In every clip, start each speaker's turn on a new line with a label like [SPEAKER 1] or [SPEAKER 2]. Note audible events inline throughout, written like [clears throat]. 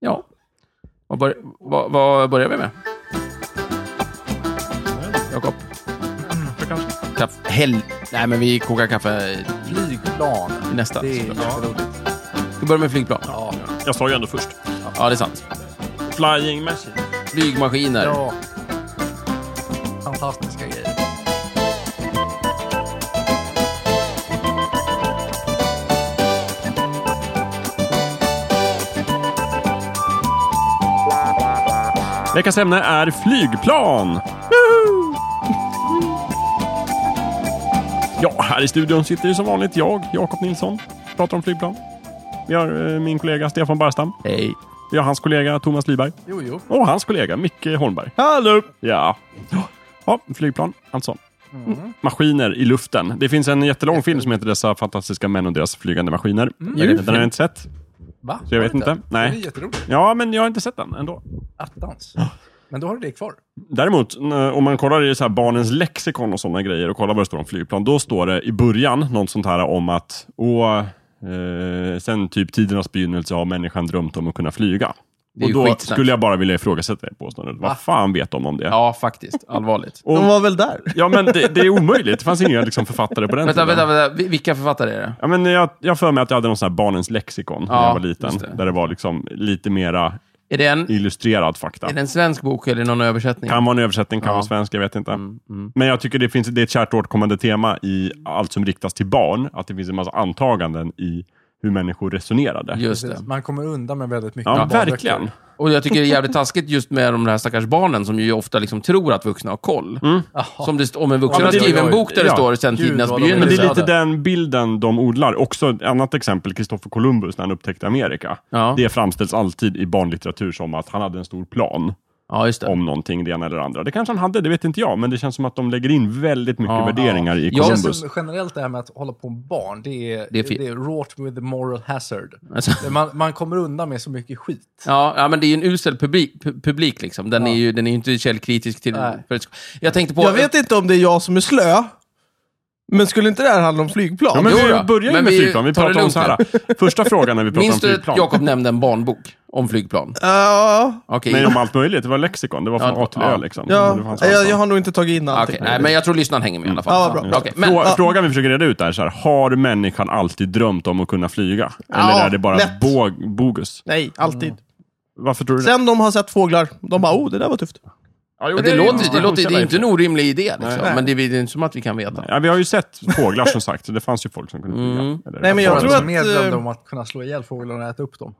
[SPEAKER 1] Ja. Vad, bör, vad, vad börjar vi med? Jakob? Mm, Kaffe? Hell... Nej, men vi kokar kaffe i
[SPEAKER 2] Flygplan.
[SPEAKER 1] i nästa.
[SPEAKER 2] Det är
[SPEAKER 1] såklart.
[SPEAKER 2] jätteroligt.
[SPEAKER 1] Vi börjar med flygplan.
[SPEAKER 2] Ja.
[SPEAKER 3] Jag sa ju ändå först.
[SPEAKER 1] Ja, det är sant.
[SPEAKER 3] Flying machine.
[SPEAKER 1] Flygmaskiner.
[SPEAKER 2] ja. Fantastiska grejer.
[SPEAKER 3] Veckans ämne är flygplan. Woho! Ja, här i studion sitter ju som vanligt jag, Jakob Nilsson, pratar om flygplan. Vi har eh, min kollega Stefan Barstam.
[SPEAKER 1] Hej.
[SPEAKER 3] Vi har hans kollega Thomas Lyberg.
[SPEAKER 2] Jo, jo.
[SPEAKER 3] Och hans kollega Micke Holmberg. Hallå! Ja. Ja, flygplan alltså.
[SPEAKER 2] Mm.
[SPEAKER 3] Maskiner i luften. Det finns en jättelång film som heter Dessa fantastiska män och deras flygande maskiner. Jag vet inte, den har jag inte sett.
[SPEAKER 2] Mm. Va?
[SPEAKER 3] Så jag vet
[SPEAKER 2] Var det
[SPEAKER 3] inte. Nej.
[SPEAKER 2] Det är jätteroligt.
[SPEAKER 3] Ja, men jag har inte sett den ändå.
[SPEAKER 2] Attans. Men då har du det kvar.
[SPEAKER 3] Däremot, n- om man kollar i så här barnens lexikon och sådana grejer och kollar vad det står om flygplan, då står det i början något sånt här om att åh, eh, sen typ tidernas begynnelse har människan drömt om att kunna flyga.
[SPEAKER 1] Det är
[SPEAKER 3] och
[SPEAKER 1] ju
[SPEAKER 3] då
[SPEAKER 1] skitsnack.
[SPEAKER 3] skulle jag bara vilja ifrågasätta det påståendet. Vad fan vet de om det?
[SPEAKER 1] Ja, faktiskt. Allvarligt.
[SPEAKER 3] Och-
[SPEAKER 4] De var väl där?
[SPEAKER 3] Ja, men det, det är omöjligt. Det fanns inga liksom, författare på den
[SPEAKER 1] Vänta,
[SPEAKER 3] tiden.
[SPEAKER 1] vänta, vänta. Vi- Vilka författare är det?
[SPEAKER 3] Ja, men jag jag har för mig att jag hade någon sån här barnens lexikon när
[SPEAKER 1] Ja,
[SPEAKER 3] jag var liten.
[SPEAKER 1] just det.
[SPEAKER 3] Där det var liksom lite mera
[SPEAKER 1] Är det en,
[SPEAKER 3] illustrerad fakta.
[SPEAKER 1] är det en svensk bok eller någon översättning?
[SPEAKER 3] Kan vara en översättning, kan
[SPEAKER 1] Ja.
[SPEAKER 3] vara svensk, jag vet inte.
[SPEAKER 1] Mm, mm.
[SPEAKER 3] Men jag tycker det, finns, det är ett kärt återkommande tema i allt som riktas till barn, att det finns en massa antaganden i hur människor resonerade.
[SPEAKER 1] Just
[SPEAKER 2] Precis.
[SPEAKER 1] det.
[SPEAKER 2] Man kommer undan med väldigt mycket.
[SPEAKER 3] ja,
[SPEAKER 2] barnböcker.
[SPEAKER 3] verkligen.
[SPEAKER 1] Och jag tycker det är jävligt taskigt just med de här stackars barnen som ju ofta liksom tror att vuxna har koll. Som det, st- om en vuxen
[SPEAKER 3] Ja, men
[SPEAKER 1] har
[SPEAKER 3] det-
[SPEAKER 1] skrivit en bok där det
[SPEAKER 3] ja.
[SPEAKER 1] står sen
[SPEAKER 2] Gud,
[SPEAKER 1] tidernas
[SPEAKER 2] vad de är
[SPEAKER 1] begynnelse.
[SPEAKER 3] Men det är lite
[SPEAKER 2] Resonerade.
[SPEAKER 3] den bilden de odlar. Också ett annat exempel, Kristoffer Columbus, när han upptäckte Amerika.
[SPEAKER 1] Ja.
[SPEAKER 3] Det framställs alltid i barnlitteratur som att han hade en stor plan
[SPEAKER 1] Ja, just det.
[SPEAKER 3] om någonting, det ena eller det andra. Det kanske han hade, det vet inte jag, men det känns som att de lägger in väldigt mycket
[SPEAKER 1] Ja.
[SPEAKER 3] värderingar i
[SPEAKER 1] Ja.
[SPEAKER 2] Det
[SPEAKER 3] Columbus.
[SPEAKER 2] känns som generellt det här med att hålla på med barn, det är,
[SPEAKER 1] Det
[SPEAKER 2] det
[SPEAKER 1] är
[SPEAKER 2] är,
[SPEAKER 1] fel.
[SPEAKER 2] det är wrought with moral hazard.
[SPEAKER 1] Alltså,
[SPEAKER 2] Man, man kommer undan med så mycket skit.
[SPEAKER 1] ja, ja, men det är ju en usel publik, pu- publik liksom. Den,
[SPEAKER 2] Ja.
[SPEAKER 1] är ju, den är ju inte källkritisk till...
[SPEAKER 2] Nej.
[SPEAKER 1] för- Jag tänkte på...
[SPEAKER 4] Jag vet inte om det är jag som är slö, men skulle inte det här handla om flygplan?
[SPEAKER 3] Ja, men
[SPEAKER 1] Jo
[SPEAKER 3] vi
[SPEAKER 1] då,
[SPEAKER 3] börjar ju
[SPEAKER 1] men
[SPEAKER 3] med
[SPEAKER 1] vi
[SPEAKER 3] flygplan. Vi
[SPEAKER 1] tar det
[SPEAKER 3] pratar om
[SPEAKER 1] lugnt
[SPEAKER 3] så här. Första frågan när vi
[SPEAKER 1] [laughs]
[SPEAKER 3] pratar om
[SPEAKER 1] Minns du att
[SPEAKER 3] flygplan.
[SPEAKER 1] Jakob nämnde en barnbok om flygplan?
[SPEAKER 4] Ja,
[SPEAKER 1] Okej.
[SPEAKER 3] Nej, om allt möjligt. Det var lexikon. Det var från
[SPEAKER 1] Ja,
[SPEAKER 3] A till Ö
[SPEAKER 1] ja.
[SPEAKER 3] liksom.
[SPEAKER 4] ja,
[SPEAKER 3] Det fanns
[SPEAKER 4] jag,
[SPEAKER 3] allt.
[SPEAKER 4] jag har nog inte tagit in
[SPEAKER 1] Okej,
[SPEAKER 4] allting.
[SPEAKER 1] nej, men jag tror lyssnaren hänger med i alla fall.
[SPEAKER 4] Ja, vad bra.
[SPEAKER 1] Okej, men,
[SPEAKER 3] Frå-
[SPEAKER 4] ja.
[SPEAKER 3] Frågan vi försöker reda ut är så här. Har människan alltid drömt om att kunna flyga? Eller
[SPEAKER 4] Ja,
[SPEAKER 3] är det bara
[SPEAKER 4] lätt.
[SPEAKER 3] bog, bogus?
[SPEAKER 4] Nej, alltid.
[SPEAKER 3] Varför tror du det?
[SPEAKER 4] Sen de har sett fåglar, de bara oh, det där var tufft.
[SPEAKER 3] Ja, jo,
[SPEAKER 1] det,
[SPEAKER 3] är
[SPEAKER 1] låter,
[SPEAKER 3] en
[SPEAKER 1] det, låter, det är
[SPEAKER 3] inspirationskälla
[SPEAKER 1] inte en
[SPEAKER 3] i och
[SPEAKER 1] orimlig idé, liksom.
[SPEAKER 4] Nej.
[SPEAKER 1] men det är det är inte som att vi kan veta.
[SPEAKER 3] för sig. Ja, vi har ju sett fåglar som sagt. så Det fanns ju folk som kunde flyga.
[SPEAKER 1] Mm.
[SPEAKER 3] Eller-
[SPEAKER 4] Nej, men jag
[SPEAKER 2] Barn
[SPEAKER 4] tror
[SPEAKER 2] som
[SPEAKER 4] att,
[SPEAKER 2] mer drömde
[SPEAKER 4] eh,
[SPEAKER 2] om att kunna slå ihjäl fåglarna och äta upp dem.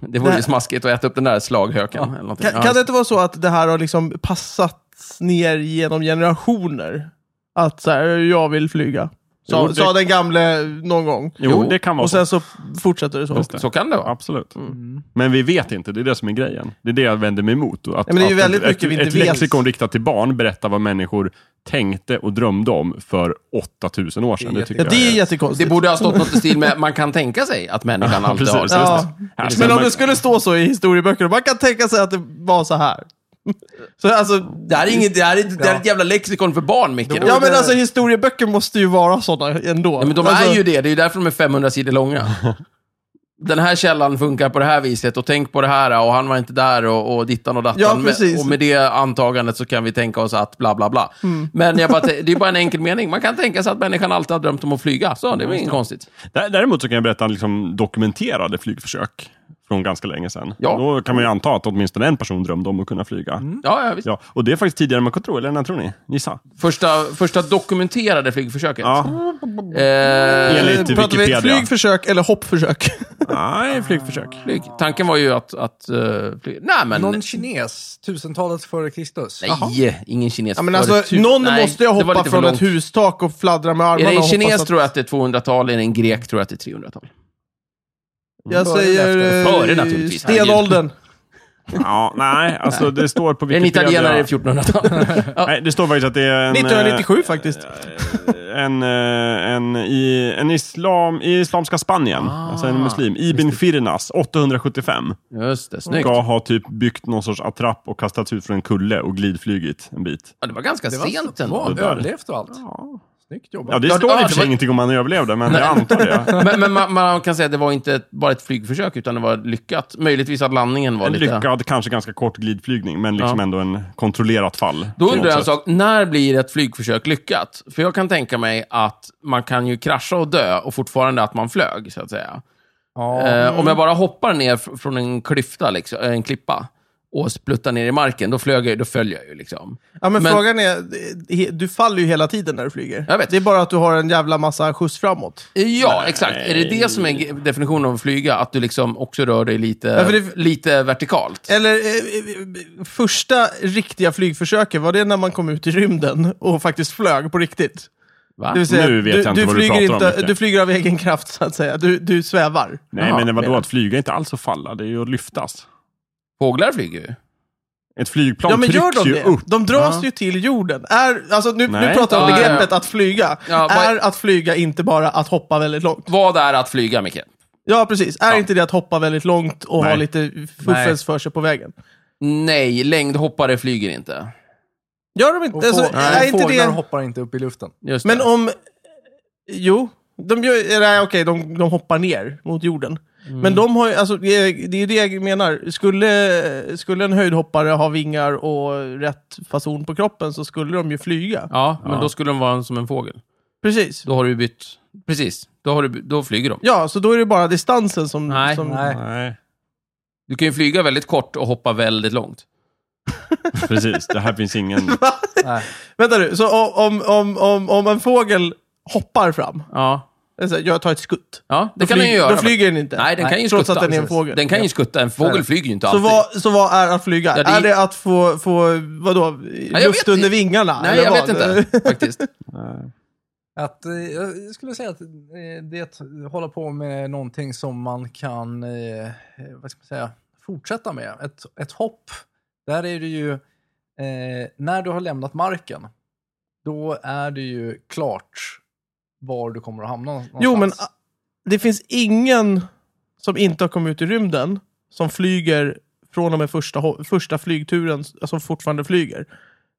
[SPEAKER 1] Det vore ju
[SPEAKER 4] Nej.
[SPEAKER 1] smaskigt att äta upp den där slaghöken. eller någonting.
[SPEAKER 4] Kan,
[SPEAKER 1] Ja,
[SPEAKER 4] kan det inte vara så att det här har liksom passats ner genom generationer? Att så här, jag vill flyga. Sa,
[SPEAKER 3] Jo, det-
[SPEAKER 4] sa den gamle någon gång.
[SPEAKER 1] Jo.
[SPEAKER 3] Jo, det kan vara
[SPEAKER 4] Och
[SPEAKER 3] så.
[SPEAKER 4] sen Mm. så fortsätter det så.
[SPEAKER 3] Just det.
[SPEAKER 1] Så kan det vara.
[SPEAKER 3] Absolut. Men vi vet inte, det är det som är grejen. Det är det jag vänder mig emot. Och Att,
[SPEAKER 4] Ja, men det är ju
[SPEAKER 3] att
[SPEAKER 4] väldigt
[SPEAKER 3] ett,
[SPEAKER 4] mycket vi inte
[SPEAKER 3] ett
[SPEAKER 4] vet.
[SPEAKER 3] lexikon riktat till barn berättar vad människor tänkte och drömde om för 8000 år sedan.
[SPEAKER 2] Det är
[SPEAKER 3] Det tycker
[SPEAKER 4] Ja,
[SPEAKER 3] jag
[SPEAKER 4] det är
[SPEAKER 3] är...
[SPEAKER 1] Det
[SPEAKER 4] jättekonstigt.
[SPEAKER 1] borde ha stått något i stil med man kan tänka sig att människan
[SPEAKER 3] Ja,
[SPEAKER 1] alltid
[SPEAKER 3] precis.
[SPEAKER 1] har...
[SPEAKER 3] Just det.
[SPEAKER 4] Ja.
[SPEAKER 3] Här ska
[SPEAKER 4] Men om
[SPEAKER 3] man-
[SPEAKER 4] det skulle stå så i historieböckerna, man kan tänka sig att det var så här. [laughs] Så alltså,
[SPEAKER 1] Det här är, inget, det här är, det här är ett jävla lexikon för barn, Micke.
[SPEAKER 2] Ja,
[SPEAKER 4] Ja
[SPEAKER 1] Ja,
[SPEAKER 4] men alltså historieböcker måste ju vara sådana ändå.
[SPEAKER 1] men de
[SPEAKER 4] alltså,
[SPEAKER 1] är ju det. Det är ju därför de är 500 sidor långa. Den här källan funkar på det här viset och tänk på det här och han var inte där och, och dittan och dattan.
[SPEAKER 4] Ja,
[SPEAKER 1] Men-
[SPEAKER 4] precis.
[SPEAKER 1] och med det antagandet så kan vi tänka oss att bla bla bla. Men jag bara, t- det är bara en enkel mening. Man kan tänka sig att människan alltid har drömt om att flyga. Så det är väl inget konstigt.
[SPEAKER 3] Dä- Däremot så kan jag berätta liksom dokumenterade flygförsök från ganska länge sedan.
[SPEAKER 1] Ja. Mm.
[SPEAKER 3] Då kan man ju anta att åtminstone en person drömde om att kunna flyga.
[SPEAKER 1] Ja, ja, visst.
[SPEAKER 3] Ja, och det är faktiskt tidigare än man kan tro, eller när tror ni? Gissa.
[SPEAKER 1] Första, första dokumenterade flygförsöket.
[SPEAKER 3] Ja.
[SPEAKER 1] Eh,
[SPEAKER 3] Enligt
[SPEAKER 4] pratar vi
[SPEAKER 3] Wikipedia.
[SPEAKER 4] flygförsök eller hoppförsök?
[SPEAKER 3] Nej, flygförsök.
[SPEAKER 1] flyg. Tanken var ju att... att eh, flyg. Nej, men...
[SPEAKER 2] Någon kines, tusentalet före Kristus.
[SPEAKER 1] Nej, ingen kines.
[SPEAKER 4] ja, men
[SPEAKER 1] Var
[SPEAKER 4] alltså,
[SPEAKER 1] det tu-
[SPEAKER 4] någon
[SPEAKER 1] Nej,
[SPEAKER 4] måste ju
[SPEAKER 1] det var
[SPEAKER 4] hoppa
[SPEAKER 1] lite för
[SPEAKER 4] från
[SPEAKER 1] långt.
[SPEAKER 4] ett hustak och fladdra med
[SPEAKER 1] Är
[SPEAKER 4] armarna
[SPEAKER 1] det en
[SPEAKER 4] och
[SPEAKER 1] kines
[SPEAKER 4] hoppas att...
[SPEAKER 1] tror jag att det är 200-tal, är det en grek tror jag att det är 300-tal.
[SPEAKER 4] Jag
[SPEAKER 2] Före
[SPEAKER 4] säger...
[SPEAKER 2] eller
[SPEAKER 1] efter?
[SPEAKER 4] eh,
[SPEAKER 1] Före, naturligtvis.
[SPEAKER 4] Stenåldern.
[SPEAKER 3] Ja, nej, alltså det står på
[SPEAKER 1] Är det en
[SPEAKER 3] Wikipedia.
[SPEAKER 1] italienare i
[SPEAKER 4] [laughs]
[SPEAKER 1] 1400-tal? ja.
[SPEAKER 3] Nej, det står faktiskt att det är en... eh,
[SPEAKER 4] 1997 faktiskt.
[SPEAKER 3] En, eh, en, i, en islam, i islamiska Spanien,
[SPEAKER 1] Ah,
[SPEAKER 3] alltså en muslim, Ibn Firnas, 875.
[SPEAKER 1] Just det, snyggt.
[SPEAKER 3] Ska ha typ byggt någon sorts attrapp och kastats ut från en kulle och glidflygit en bit.
[SPEAKER 1] Ja, det var ganska
[SPEAKER 2] Det var
[SPEAKER 1] sent
[SPEAKER 2] så
[SPEAKER 1] ändå.
[SPEAKER 2] bra,
[SPEAKER 3] Det där.
[SPEAKER 2] Alltså, överlevt och allt. Snyggt jobbat.
[SPEAKER 3] Ja, det
[SPEAKER 1] Ja,
[SPEAKER 3] står
[SPEAKER 1] ja,
[SPEAKER 3] i och
[SPEAKER 1] det
[SPEAKER 3] för sig
[SPEAKER 1] var-
[SPEAKER 3] ingenting om han överlevde, men jag antar
[SPEAKER 4] [laughs]
[SPEAKER 3] det.
[SPEAKER 1] Men, men man, man kan säga att det var inte ett, bara ett flygförsök, utan det var lyckat. Möjligtvis att landningen var
[SPEAKER 3] En
[SPEAKER 1] lite...
[SPEAKER 3] lyckad, kanske ganska kort glidflygning, men liksom
[SPEAKER 1] Ja.
[SPEAKER 3] ändå en kontrollerat fall.
[SPEAKER 1] Då
[SPEAKER 3] på något
[SPEAKER 1] undrar jag en
[SPEAKER 3] sätt.
[SPEAKER 1] sak. När blir ett flygförsök lyckat? För jag kan tänka mig att man kan ju krascha och dö och fortfarande att man flög, så att säga.
[SPEAKER 2] Ja.
[SPEAKER 1] Eh,
[SPEAKER 4] Mm.
[SPEAKER 1] om jag bara hoppar ner fr- från en klyfta, liksom, eh, en klippa, och spluttar ner i marken, då, flög jag, ju- då följer jag ju. Liksom.
[SPEAKER 4] Ja, men,
[SPEAKER 1] Men-
[SPEAKER 4] frågan är, eh, he- du faller ju hela tiden när du flyger.
[SPEAKER 1] Jag vet.
[SPEAKER 4] Det är bara att du har en jävla massa skjuts framåt.
[SPEAKER 1] Ja, exakt. Är det det som är g- definitionen av att flyga? Att du liksom också rör dig lite,
[SPEAKER 4] för det-
[SPEAKER 1] lite vertikalt?
[SPEAKER 4] Eller, eh, eh, första riktiga flygförsöket, var det när man kom ut i rymden och faktiskt flög på riktigt?
[SPEAKER 1] Va?
[SPEAKER 4] Det vill säga,
[SPEAKER 3] Nu vet
[SPEAKER 4] du,
[SPEAKER 3] jag inte
[SPEAKER 4] du
[SPEAKER 3] vad du
[SPEAKER 4] flyger
[SPEAKER 3] pratar om,
[SPEAKER 4] inte,
[SPEAKER 3] Micke.
[SPEAKER 4] Du flyger av egen kraft, så att säga. Du, du svävar.
[SPEAKER 3] Nej,
[SPEAKER 1] Ja,
[SPEAKER 3] men det var då
[SPEAKER 1] mer.
[SPEAKER 3] att flyga är inte alls att falla, det är ju att lyftas.
[SPEAKER 1] Fåglar flyger ju.
[SPEAKER 3] Ett flygplan
[SPEAKER 4] Ja, men
[SPEAKER 3] trycks
[SPEAKER 4] gör de
[SPEAKER 3] ju
[SPEAKER 4] det?
[SPEAKER 3] upp.
[SPEAKER 4] De dras ju till jorden. Är, alltså, nu, nu
[SPEAKER 3] Nej.
[SPEAKER 4] pratar vi om
[SPEAKER 1] Ja, ja, ja.
[SPEAKER 4] begreppet att flyga.
[SPEAKER 1] Ja, vad-
[SPEAKER 4] Är att flyga inte bara att hoppa väldigt långt?
[SPEAKER 1] Vad är att flyga, Micke?
[SPEAKER 4] Ja, precis. Är inte det att hoppa väldigt långt och
[SPEAKER 3] Nej.
[SPEAKER 4] ha lite fuffens för sig på vägen?
[SPEAKER 1] Nej, längdhoppare flyger inte.
[SPEAKER 4] Gör de
[SPEAKER 2] Och
[SPEAKER 4] inte?
[SPEAKER 2] få,
[SPEAKER 4] Alltså,
[SPEAKER 2] nej,
[SPEAKER 4] är inte
[SPEAKER 2] fåglar
[SPEAKER 4] det...
[SPEAKER 2] hoppar inte upp i luften.
[SPEAKER 1] Just
[SPEAKER 4] Men
[SPEAKER 1] det.
[SPEAKER 4] om... Jo. De gör, nej, okej, de, de hoppar ner mot jorden.
[SPEAKER 1] Mm.
[SPEAKER 4] Men de har ju, alltså, det är det är det jag menar. Skulle, skulle en höjdhoppare ha vingar och rätt fason på kroppen så skulle de ju flyga.
[SPEAKER 1] Ja, men då skulle de vara en- som en fågel.
[SPEAKER 4] Precis.
[SPEAKER 1] Då har du bytt... Precis. Då, har du, by- då flyger de.
[SPEAKER 4] Ja, så då är det bara distansen som...
[SPEAKER 1] Nej.
[SPEAKER 4] som
[SPEAKER 2] Nej.
[SPEAKER 3] Nej,
[SPEAKER 1] Du kan ju flyga väldigt kort och hoppa väldigt långt.
[SPEAKER 3] precis. Det här finns
[SPEAKER 4] [laughs]
[SPEAKER 3] ingen...
[SPEAKER 2] Nej.
[SPEAKER 4] Vänta nu, så o- om, om, om, om en fågel hoppar fram,
[SPEAKER 1] Ja,
[SPEAKER 4] det är så här, jag tar ett skutt.
[SPEAKER 1] ja det
[SPEAKER 4] Då
[SPEAKER 1] kan
[SPEAKER 4] flyg-
[SPEAKER 1] den ju göra.
[SPEAKER 4] Då flyger den inte.
[SPEAKER 1] Nej, den kan ju
[SPEAKER 4] Trots
[SPEAKER 1] skutta.
[SPEAKER 4] att den är en
[SPEAKER 1] Precis.
[SPEAKER 4] fågel.
[SPEAKER 1] Den kan ju skutta. En fågel flyger ju inte
[SPEAKER 4] Så
[SPEAKER 1] alltid.
[SPEAKER 4] vad, så vad är att flyga?
[SPEAKER 1] Ja, det-
[SPEAKER 4] Är det att få, få vadå, luft
[SPEAKER 1] vet-
[SPEAKER 4] under vingarna?
[SPEAKER 1] Nej,
[SPEAKER 4] eller
[SPEAKER 1] jag
[SPEAKER 4] vad?
[SPEAKER 1] vet inte faktiskt.
[SPEAKER 2] Att, eh, jag skulle säga att eh, det är att hålla på med någonting som man kan eh, vad ska man säga, fortsätta med. Ett, ett hopp, där är det ju, eh, när du har lämnat marken, då är det ju klart var du kommer att hamna någonstans.
[SPEAKER 4] [laughs] Jo, men a- det finns ingen som inte har kommit ut i rymden som flyger från och med första, ho- första flygturen, som fortfarande flyger.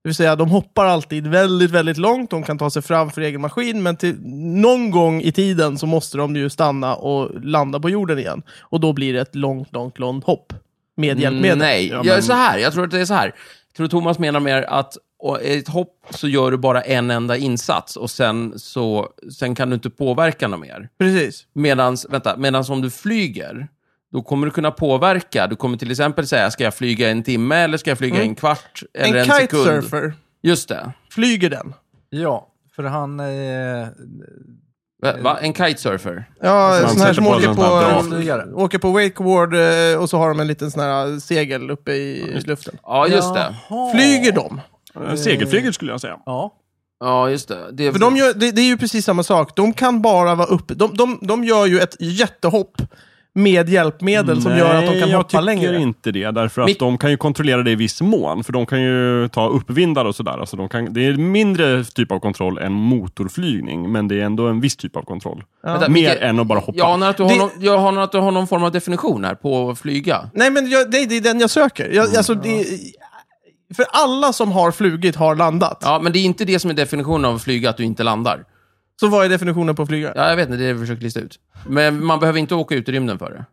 [SPEAKER 4] Det vill säga, de hoppar alltid väldigt, väldigt långt. De kan ta sig fram för egen maskin, men till någon gång i tiden så måste de ju stanna och landa på jorden igen. Och då blir det ett långt, långt, långt hopp med hjälpmedel.
[SPEAKER 1] Nej,
[SPEAKER 3] Ja,
[SPEAKER 1] jag är
[SPEAKER 3] men-
[SPEAKER 1] så här. Jag tror att det är så här. Jag tror Thomas menar mer att och i ett hopp så gör du bara en enda insats och sen, så, sen kan du inte påverka något mer.
[SPEAKER 4] Precis.
[SPEAKER 1] Medans, vänta, medans om du flyger, då kommer du kunna påverka. Du kommer till exempel säga, ska jag flyga en timme eller ska jag flyga en kvart eller en,
[SPEAKER 4] Mm. en
[SPEAKER 1] sekund?
[SPEAKER 4] kitesurfer,
[SPEAKER 1] Just det.
[SPEAKER 4] flyger den?
[SPEAKER 2] Ja, för han... Eh,
[SPEAKER 1] Va- Va? En kitesurfer?
[SPEAKER 4] Ja,
[SPEAKER 3] Man
[SPEAKER 4] sån här
[SPEAKER 3] sätter
[SPEAKER 4] som
[SPEAKER 3] på
[SPEAKER 4] åker
[SPEAKER 3] den
[SPEAKER 4] på,
[SPEAKER 3] där
[SPEAKER 2] bra flygare.
[SPEAKER 4] åker på wakeboard eh, och så har de en liten sån här eh, segel uppe i luften.
[SPEAKER 1] Ja, just det.
[SPEAKER 2] Jaha.
[SPEAKER 4] Flyger de?
[SPEAKER 3] Segelflyget skulle jag säga.
[SPEAKER 2] Ja.
[SPEAKER 1] Ja, just det. det är
[SPEAKER 4] För de gör, det, det är ju precis samma sak. De kan bara vara uppe. De, de, de gör ju ett jättehopp med hjälpmedel som gör att de kan
[SPEAKER 3] jag
[SPEAKER 4] hoppa
[SPEAKER 3] tycker
[SPEAKER 4] längre.
[SPEAKER 3] inte det. Därför att
[SPEAKER 1] Mitt-
[SPEAKER 3] de kan ju kontrollera det i viss mån. För de kan ju ta uppvindar och sådär. Alltså de kan, det är mindre typ av kontroll än motorflygning. Men det är ändå en viss typ av kontroll.
[SPEAKER 1] Vänta,
[SPEAKER 3] Mer
[SPEAKER 1] Micke,
[SPEAKER 3] än att bara hoppa.
[SPEAKER 1] Jag anar, att du har
[SPEAKER 4] Det-
[SPEAKER 1] någon, jag anar att du har någon form av definition här på att flyga.
[SPEAKER 4] Nej, men jag, det, det är den jag söker. Jag, alltså, det, för alla som har flugit har landat.
[SPEAKER 1] Ja, men det är inte det som är definitionen av att flyga, att du inte landar.
[SPEAKER 4] Så vad är definitionen på flyga?
[SPEAKER 1] Ja, jag vet inte, det är det jag försöker lista ut. Men man behöver inte åka ut i rymden för det.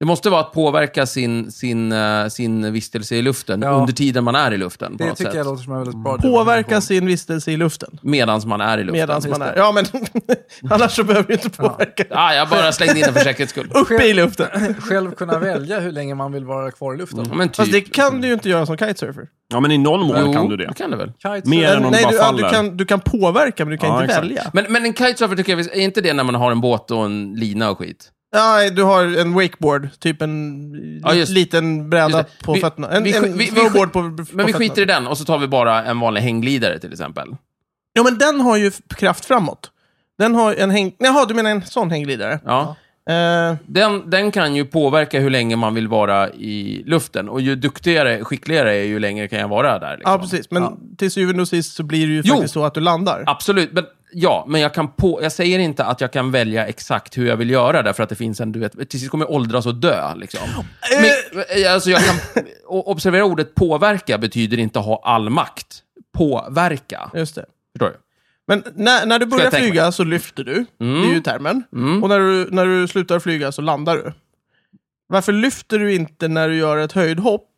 [SPEAKER 1] Det måste vara att påverka sin, sin, eh, sin vistelse i luften
[SPEAKER 2] Ja.
[SPEAKER 1] under tiden man är i luften. På
[SPEAKER 2] Det
[SPEAKER 1] något
[SPEAKER 2] tycker
[SPEAKER 1] sätt.
[SPEAKER 2] jag låter som en väldigt bra
[SPEAKER 4] Påverka
[SPEAKER 2] definition.
[SPEAKER 4] sin vistelse i luften.
[SPEAKER 1] Medan man är i luften.
[SPEAKER 4] Medan man är... Ja, men [laughs] annars så behöver du inte påverka.
[SPEAKER 1] Ah, jag bara slängde in den för säkerhets
[SPEAKER 2] [laughs]
[SPEAKER 1] skull.
[SPEAKER 4] Uppe i luften.
[SPEAKER 2] Själv kunna välja hur länge man vill vara kvar i luften.
[SPEAKER 1] Ja, Men typ.
[SPEAKER 4] [laughs] Fast det kan du ju inte göra som kitesurfer.
[SPEAKER 3] Ja, men i någon mån
[SPEAKER 1] jo,
[SPEAKER 3] kan du det.
[SPEAKER 1] kan det väl.
[SPEAKER 2] Kitesurf-
[SPEAKER 3] Mer än om du
[SPEAKER 4] Nej,
[SPEAKER 3] bara
[SPEAKER 4] du, ja,
[SPEAKER 3] faller.
[SPEAKER 4] du, kan, du kan påverka, men du kan
[SPEAKER 3] Ja,
[SPEAKER 4] inte
[SPEAKER 3] exakt.
[SPEAKER 4] välja.
[SPEAKER 1] Men, men en kitesurfer tycker jag, visst- är inte det när man har en båt och en lina och skit?
[SPEAKER 4] Ja, du har en wakeboard, typ en
[SPEAKER 1] Ja,
[SPEAKER 4] li-
[SPEAKER 1] just-
[SPEAKER 4] liten bräda
[SPEAKER 1] just det.
[SPEAKER 4] på
[SPEAKER 1] Vi-
[SPEAKER 4] fötterna. En,
[SPEAKER 1] vi sk-
[SPEAKER 4] en
[SPEAKER 1] vi- vi
[SPEAKER 4] snowboard
[SPEAKER 1] sk-
[SPEAKER 4] på, på
[SPEAKER 1] Men vi skiter i
[SPEAKER 4] fötterna.
[SPEAKER 1] den och så tar vi bara en vanlig hängglidare till exempel.
[SPEAKER 4] Ja, men den har ju f- kraft framåt. Den har en häng... Jaha, du menar en sån hängglidare?
[SPEAKER 1] Ja.
[SPEAKER 4] Eh,
[SPEAKER 1] Den, den kan ju påverka hur länge man vill vara i luften. Och ju duktigare, skickligare jag är, ju längre kan jag vara där. Liksom.
[SPEAKER 4] ja, precis. Men till syvende och sist så blir det ju
[SPEAKER 1] Jo.
[SPEAKER 4] faktiskt så att du landar.
[SPEAKER 1] Absolut. Men, ja, men jag, kan på, jag säger inte att jag kan välja exakt hur jag vill göra därför att det finns en... Du vet, till sist kommer jag åldras och dö. Liksom.
[SPEAKER 4] Eh.
[SPEAKER 1] Men, alltså, jag kan, och observera ordet påverka betyder inte ha all makt. Påverka.
[SPEAKER 4] Just det.
[SPEAKER 1] Förstår du?
[SPEAKER 4] Men när, när du börjar
[SPEAKER 1] jag tänka Mm.
[SPEAKER 4] flyga så lyfter du, det är ju termen. Och när du, när du slutar flyga så landar du. Varför lyfter du inte när du gör ett höjdhopp,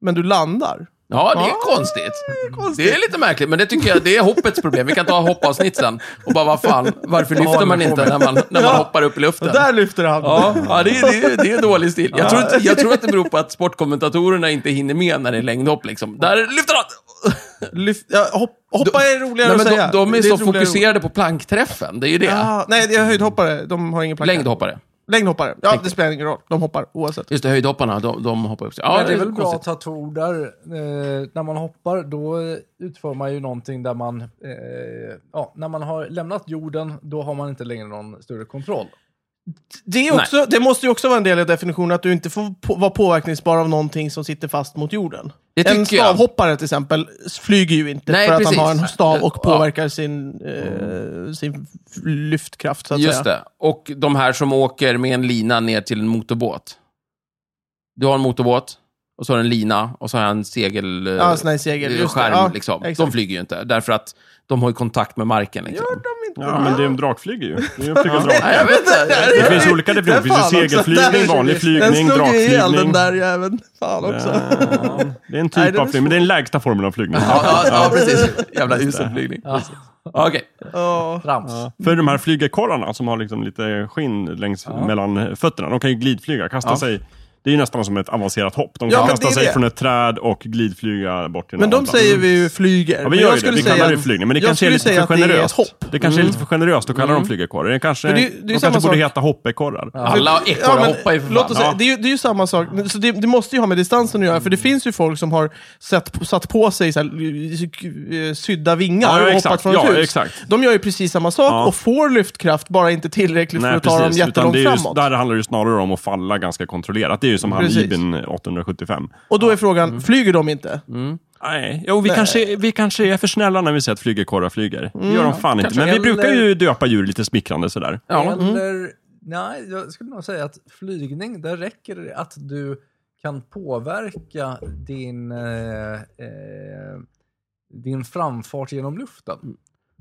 [SPEAKER 4] men du landar?
[SPEAKER 1] Ja, det är
[SPEAKER 4] Ah,
[SPEAKER 1] konstigt.
[SPEAKER 4] konstigt.
[SPEAKER 1] Det är lite märkligt, men det tycker jag det är hoppets problem. Vi kan ta hoppavsnitt sen och bara, vad fan, varför lyfter
[SPEAKER 2] håller
[SPEAKER 1] man
[SPEAKER 2] vi på
[SPEAKER 1] inte
[SPEAKER 2] med?
[SPEAKER 1] när man, när man
[SPEAKER 4] Ja.
[SPEAKER 1] hoppar upp i luften?
[SPEAKER 4] Där lyfter han.
[SPEAKER 1] Ja, ja det, är, det, är, det är dålig stil. Jag tror, inte, jag tror att det beror på att sportkommentatorerna inte hinner med när det är längdhopp. Liksom. Där lyfter han!
[SPEAKER 4] Lyft, ja, hopp, hoppa är roligare
[SPEAKER 1] Nej,
[SPEAKER 4] att säga.
[SPEAKER 1] men de, de är
[SPEAKER 4] Det
[SPEAKER 1] så
[SPEAKER 4] ett roligare ord.
[SPEAKER 1] fokuserade på plankträffen, det är ju det.
[SPEAKER 4] Ah, nej, det är höjdhoppare. De har ingen planka.
[SPEAKER 1] Längdhoppare.
[SPEAKER 4] Längdhoppare. Ja, det spelar ingen roll. De hoppar oavsett.
[SPEAKER 1] Just det, höjdhopparna, de, de hoppar upp. sig. Ja,
[SPEAKER 2] Men det är väl bra
[SPEAKER 1] konstigt.
[SPEAKER 2] att ha tordar. Eh, när man hoppar, då eh, utför man ju någonting där man... Eh, ja, när man har lämnat jorden, då har man inte längre någon större kontroll.
[SPEAKER 4] Det, är också, det måste ju också vara en del av definitionen att du inte får på, vara påverkningsbar av någonting som sitter fast mot jorden.
[SPEAKER 1] Det
[SPEAKER 4] en
[SPEAKER 1] tycker jag.
[SPEAKER 4] stavhoppare till exempel flyger ju inte
[SPEAKER 1] Nej,
[SPEAKER 4] för att
[SPEAKER 1] precis.
[SPEAKER 4] han har en stav och
[SPEAKER 1] Ja.
[SPEAKER 4] påverkar sin, eh, sin lyftkraft så att
[SPEAKER 1] Just
[SPEAKER 4] säga.
[SPEAKER 1] det. Och de här som åker med en lina ner till en motorbåt. Du har en motorbåt, och så har du en lina, och så har jag en segel... eh,
[SPEAKER 4] Ja, sån här segel.
[SPEAKER 1] eh,
[SPEAKER 4] Just det.
[SPEAKER 1] skärm,
[SPEAKER 4] Ja,
[SPEAKER 1] liksom.
[SPEAKER 4] exakt.
[SPEAKER 1] De flyger ju inte, därför att de har ju kontakt med marken. Liksom.
[SPEAKER 3] Ja, men det är en drakflyger ju. Det är en flygande drak.
[SPEAKER 1] Nej, jag vet
[SPEAKER 4] [laughs]
[SPEAKER 1] inte.
[SPEAKER 3] Det finns olika definitioner. Det finns ju
[SPEAKER 4] Fan också.
[SPEAKER 3] segelflygning,
[SPEAKER 4] Där-
[SPEAKER 3] vanlig flygning,
[SPEAKER 4] Den slog ju ihjäl den
[SPEAKER 3] drakflygning.
[SPEAKER 4] där jäveln. Fan också.
[SPEAKER 3] Eh, Det är en typ
[SPEAKER 4] Nej, den är
[SPEAKER 3] av flygning, men det är den lägsta formen av flygning.
[SPEAKER 1] Ja, ja, ja, precis. Jävla usel flygning. Okej.
[SPEAKER 4] Ja.
[SPEAKER 2] Trams.
[SPEAKER 3] För de här flygekorrarna som har liksom lite skinn längs mellan fötterna, de kan ju glidflyga, kasta sig. Det är ju nästan som ett avancerat hopp. De
[SPEAKER 4] Ja,
[SPEAKER 3] kan
[SPEAKER 4] men
[SPEAKER 3] kasta
[SPEAKER 4] det är
[SPEAKER 3] sig
[SPEAKER 4] det.
[SPEAKER 3] från ett träd och glidflyga bort till en
[SPEAKER 4] Men de
[SPEAKER 3] annan plats.
[SPEAKER 4] säger vi ju flyger.
[SPEAKER 3] Mm. Ja, vi gör ju det. Vi kallar det flygning, men det
[SPEAKER 4] jag
[SPEAKER 3] kanske är
[SPEAKER 4] skulle
[SPEAKER 3] lite
[SPEAKER 4] säga
[SPEAKER 3] för
[SPEAKER 4] att det är ett
[SPEAKER 3] generöst.
[SPEAKER 4] hopp. Mm.
[SPEAKER 3] Det kanske är lite för generöst att kalla dem flygekorrar. Det kanske,
[SPEAKER 4] Men det är ju- det är ju
[SPEAKER 3] de
[SPEAKER 4] samma
[SPEAKER 3] kanske borde
[SPEAKER 4] sak.
[SPEAKER 3] heta hoppekorrar.
[SPEAKER 1] Alla ekorrar
[SPEAKER 4] men
[SPEAKER 1] hoppar ju för fan.
[SPEAKER 4] låt oss säga,
[SPEAKER 3] Ja. Mm.
[SPEAKER 4] det, är ju, det är ju samma sak, Men så det, det måste ju ha med distansen att göra, för det finns ju folk som har sett, satt på sig så här, eh, sydda vingar
[SPEAKER 3] Ja, ja,
[SPEAKER 4] och hoppat
[SPEAKER 3] exakt.
[SPEAKER 4] från ett
[SPEAKER 3] Ja,
[SPEAKER 4] hus.
[SPEAKER 3] exakt.
[SPEAKER 4] De gör ju precis samma sak
[SPEAKER 3] Ja.
[SPEAKER 4] och får lyftkraft, bara inte tillräckligt för
[SPEAKER 3] Nej,
[SPEAKER 4] att ta dem
[SPEAKER 3] precis. Utan
[SPEAKER 4] jättelångt
[SPEAKER 3] det är ju,
[SPEAKER 4] framåt.
[SPEAKER 3] där handlar det ju snarare om att falla ganska kontrollerat. Det är ju som han
[SPEAKER 4] Precis.
[SPEAKER 3] Ibn 875.
[SPEAKER 4] Och då är frågan,
[SPEAKER 3] Mm.
[SPEAKER 4] flyger de inte?
[SPEAKER 3] Nej, jo, vi, kanske, vi kanske är för snälla när vi säger att flygekorrar flyger. Det
[SPEAKER 4] Mm.
[SPEAKER 3] gör de fan inte. Men vi
[SPEAKER 2] Eller-
[SPEAKER 3] brukar ju döpa djur lite smickrande sådär.
[SPEAKER 1] Ja.
[SPEAKER 2] Eller, nej, jag skulle nog säga att flygning, där räcker det att du kan påverka din, eh, eh, din framfart genom luften.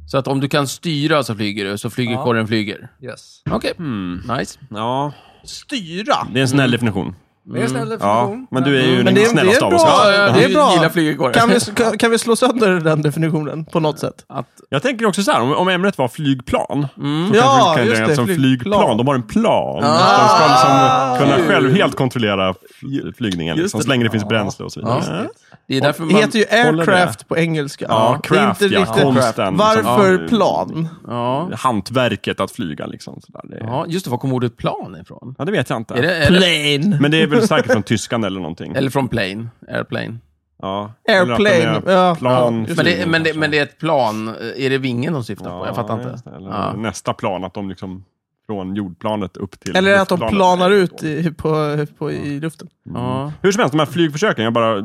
[SPEAKER 1] Så att om du kan styra så flyger du, så flyger
[SPEAKER 2] Ja.
[SPEAKER 1] korren flyger.
[SPEAKER 2] Yes.
[SPEAKER 1] Okej,
[SPEAKER 3] Mm.
[SPEAKER 4] Mm.
[SPEAKER 1] nice.
[SPEAKER 3] Ja,
[SPEAKER 4] Styra?
[SPEAKER 3] det är en snäll definition.
[SPEAKER 2] Det är en snäll
[SPEAKER 3] Mm. Ja,
[SPEAKER 2] definition.
[SPEAKER 3] men du är ju
[SPEAKER 4] Mm. Men
[SPEAKER 3] den
[SPEAKER 4] det är- det är
[SPEAKER 3] snällaste av
[SPEAKER 4] bra.
[SPEAKER 3] oss.
[SPEAKER 1] Ja,
[SPEAKER 3] här.
[SPEAKER 1] ja,
[SPEAKER 4] Det är
[SPEAKER 1] du
[SPEAKER 4] bra.
[SPEAKER 1] gillar flygekorrar.
[SPEAKER 4] Kan vi, kan, kan vi slå sönder den definitionen på något sätt?
[SPEAKER 1] Att,
[SPEAKER 3] Jag tänker också så här, om, om ämnet var flygplan. Mm. Så
[SPEAKER 4] Ja,
[SPEAKER 3] kanske vi kan
[SPEAKER 4] just
[SPEAKER 3] göra
[SPEAKER 4] det,
[SPEAKER 3] som
[SPEAKER 4] flygplan. Ah.
[SPEAKER 3] flygplan. De har en plan. De ska liksom kunna själv helt kontrollera fl- flygningen. Liksom, så länge det finns bränsle och så vidare.
[SPEAKER 1] Ja.
[SPEAKER 3] Ja.
[SPEAKER 1] det är därför
[SPEAKER 4] Det
[SPEAKER 1] man...
[SPEAKER 4] heter ju aircraft på engelska.
[SPEAKER 3] Ja,
[SPEAKER 4] Det är
[SPEAKER 3] craft, ja. Konsten. liksom.
[SPEAKER 4] Varför
[SPEAKER 3] Ja.
[SPEAKER 4] plan?
[SPEAKER 1] Ja.
[SPEAKER 3] Hantverket att flyga liksom. Så där. Det,
[SPEAKER 1] ja, just det. Var kom ordet plan ifrån?
[SPEAKER 3] ja, det vet jag inte.
[SPEAKER 1] Är det, är det,
[SPEAKER 4] Plane.
[SPEAKER 3] Men det är väl säkert från tyskan eller någonting.
[SPEAKER 1] eller från plane, airplane.
[SPEAKER 3] Ja.
[SPEAKER 4] Airplane,
[SPEAKER 3] Eller att de är
[SPEAKER 4] ja.
[SPEAKER 3] Plan,
[SPEAKER 4] Ja, just
[SPEAKER 1] Men det,
[SPEAKER 3] flyger
[SPEAKER 1] men, det,
[SPEAKER 3] kanske.
[SPEAKER 1] men det är ett plan. Är det vingen de syftar på?
[SPEAKER 3] Ja,
[SPEAKER 1] Jag fattar
[SPEAKER 3] just
[SPEAKER 1] inte.
[SPEAKER 3] det. Eller Mm.
[SPEAKER 1] Ja.
[SPEAKER 3] Nästa plan, att de liksom från jordplanet upp till
[SPEAKER 4] Eller att de
[SPEAKER 3] luftplanet.
[SPEAKER 4] planar ut i, på, på, i luften.
[SPEAKER 1] Ja.
[SPEAKER 3] Hur som helst, de här flygförsöken, jag bara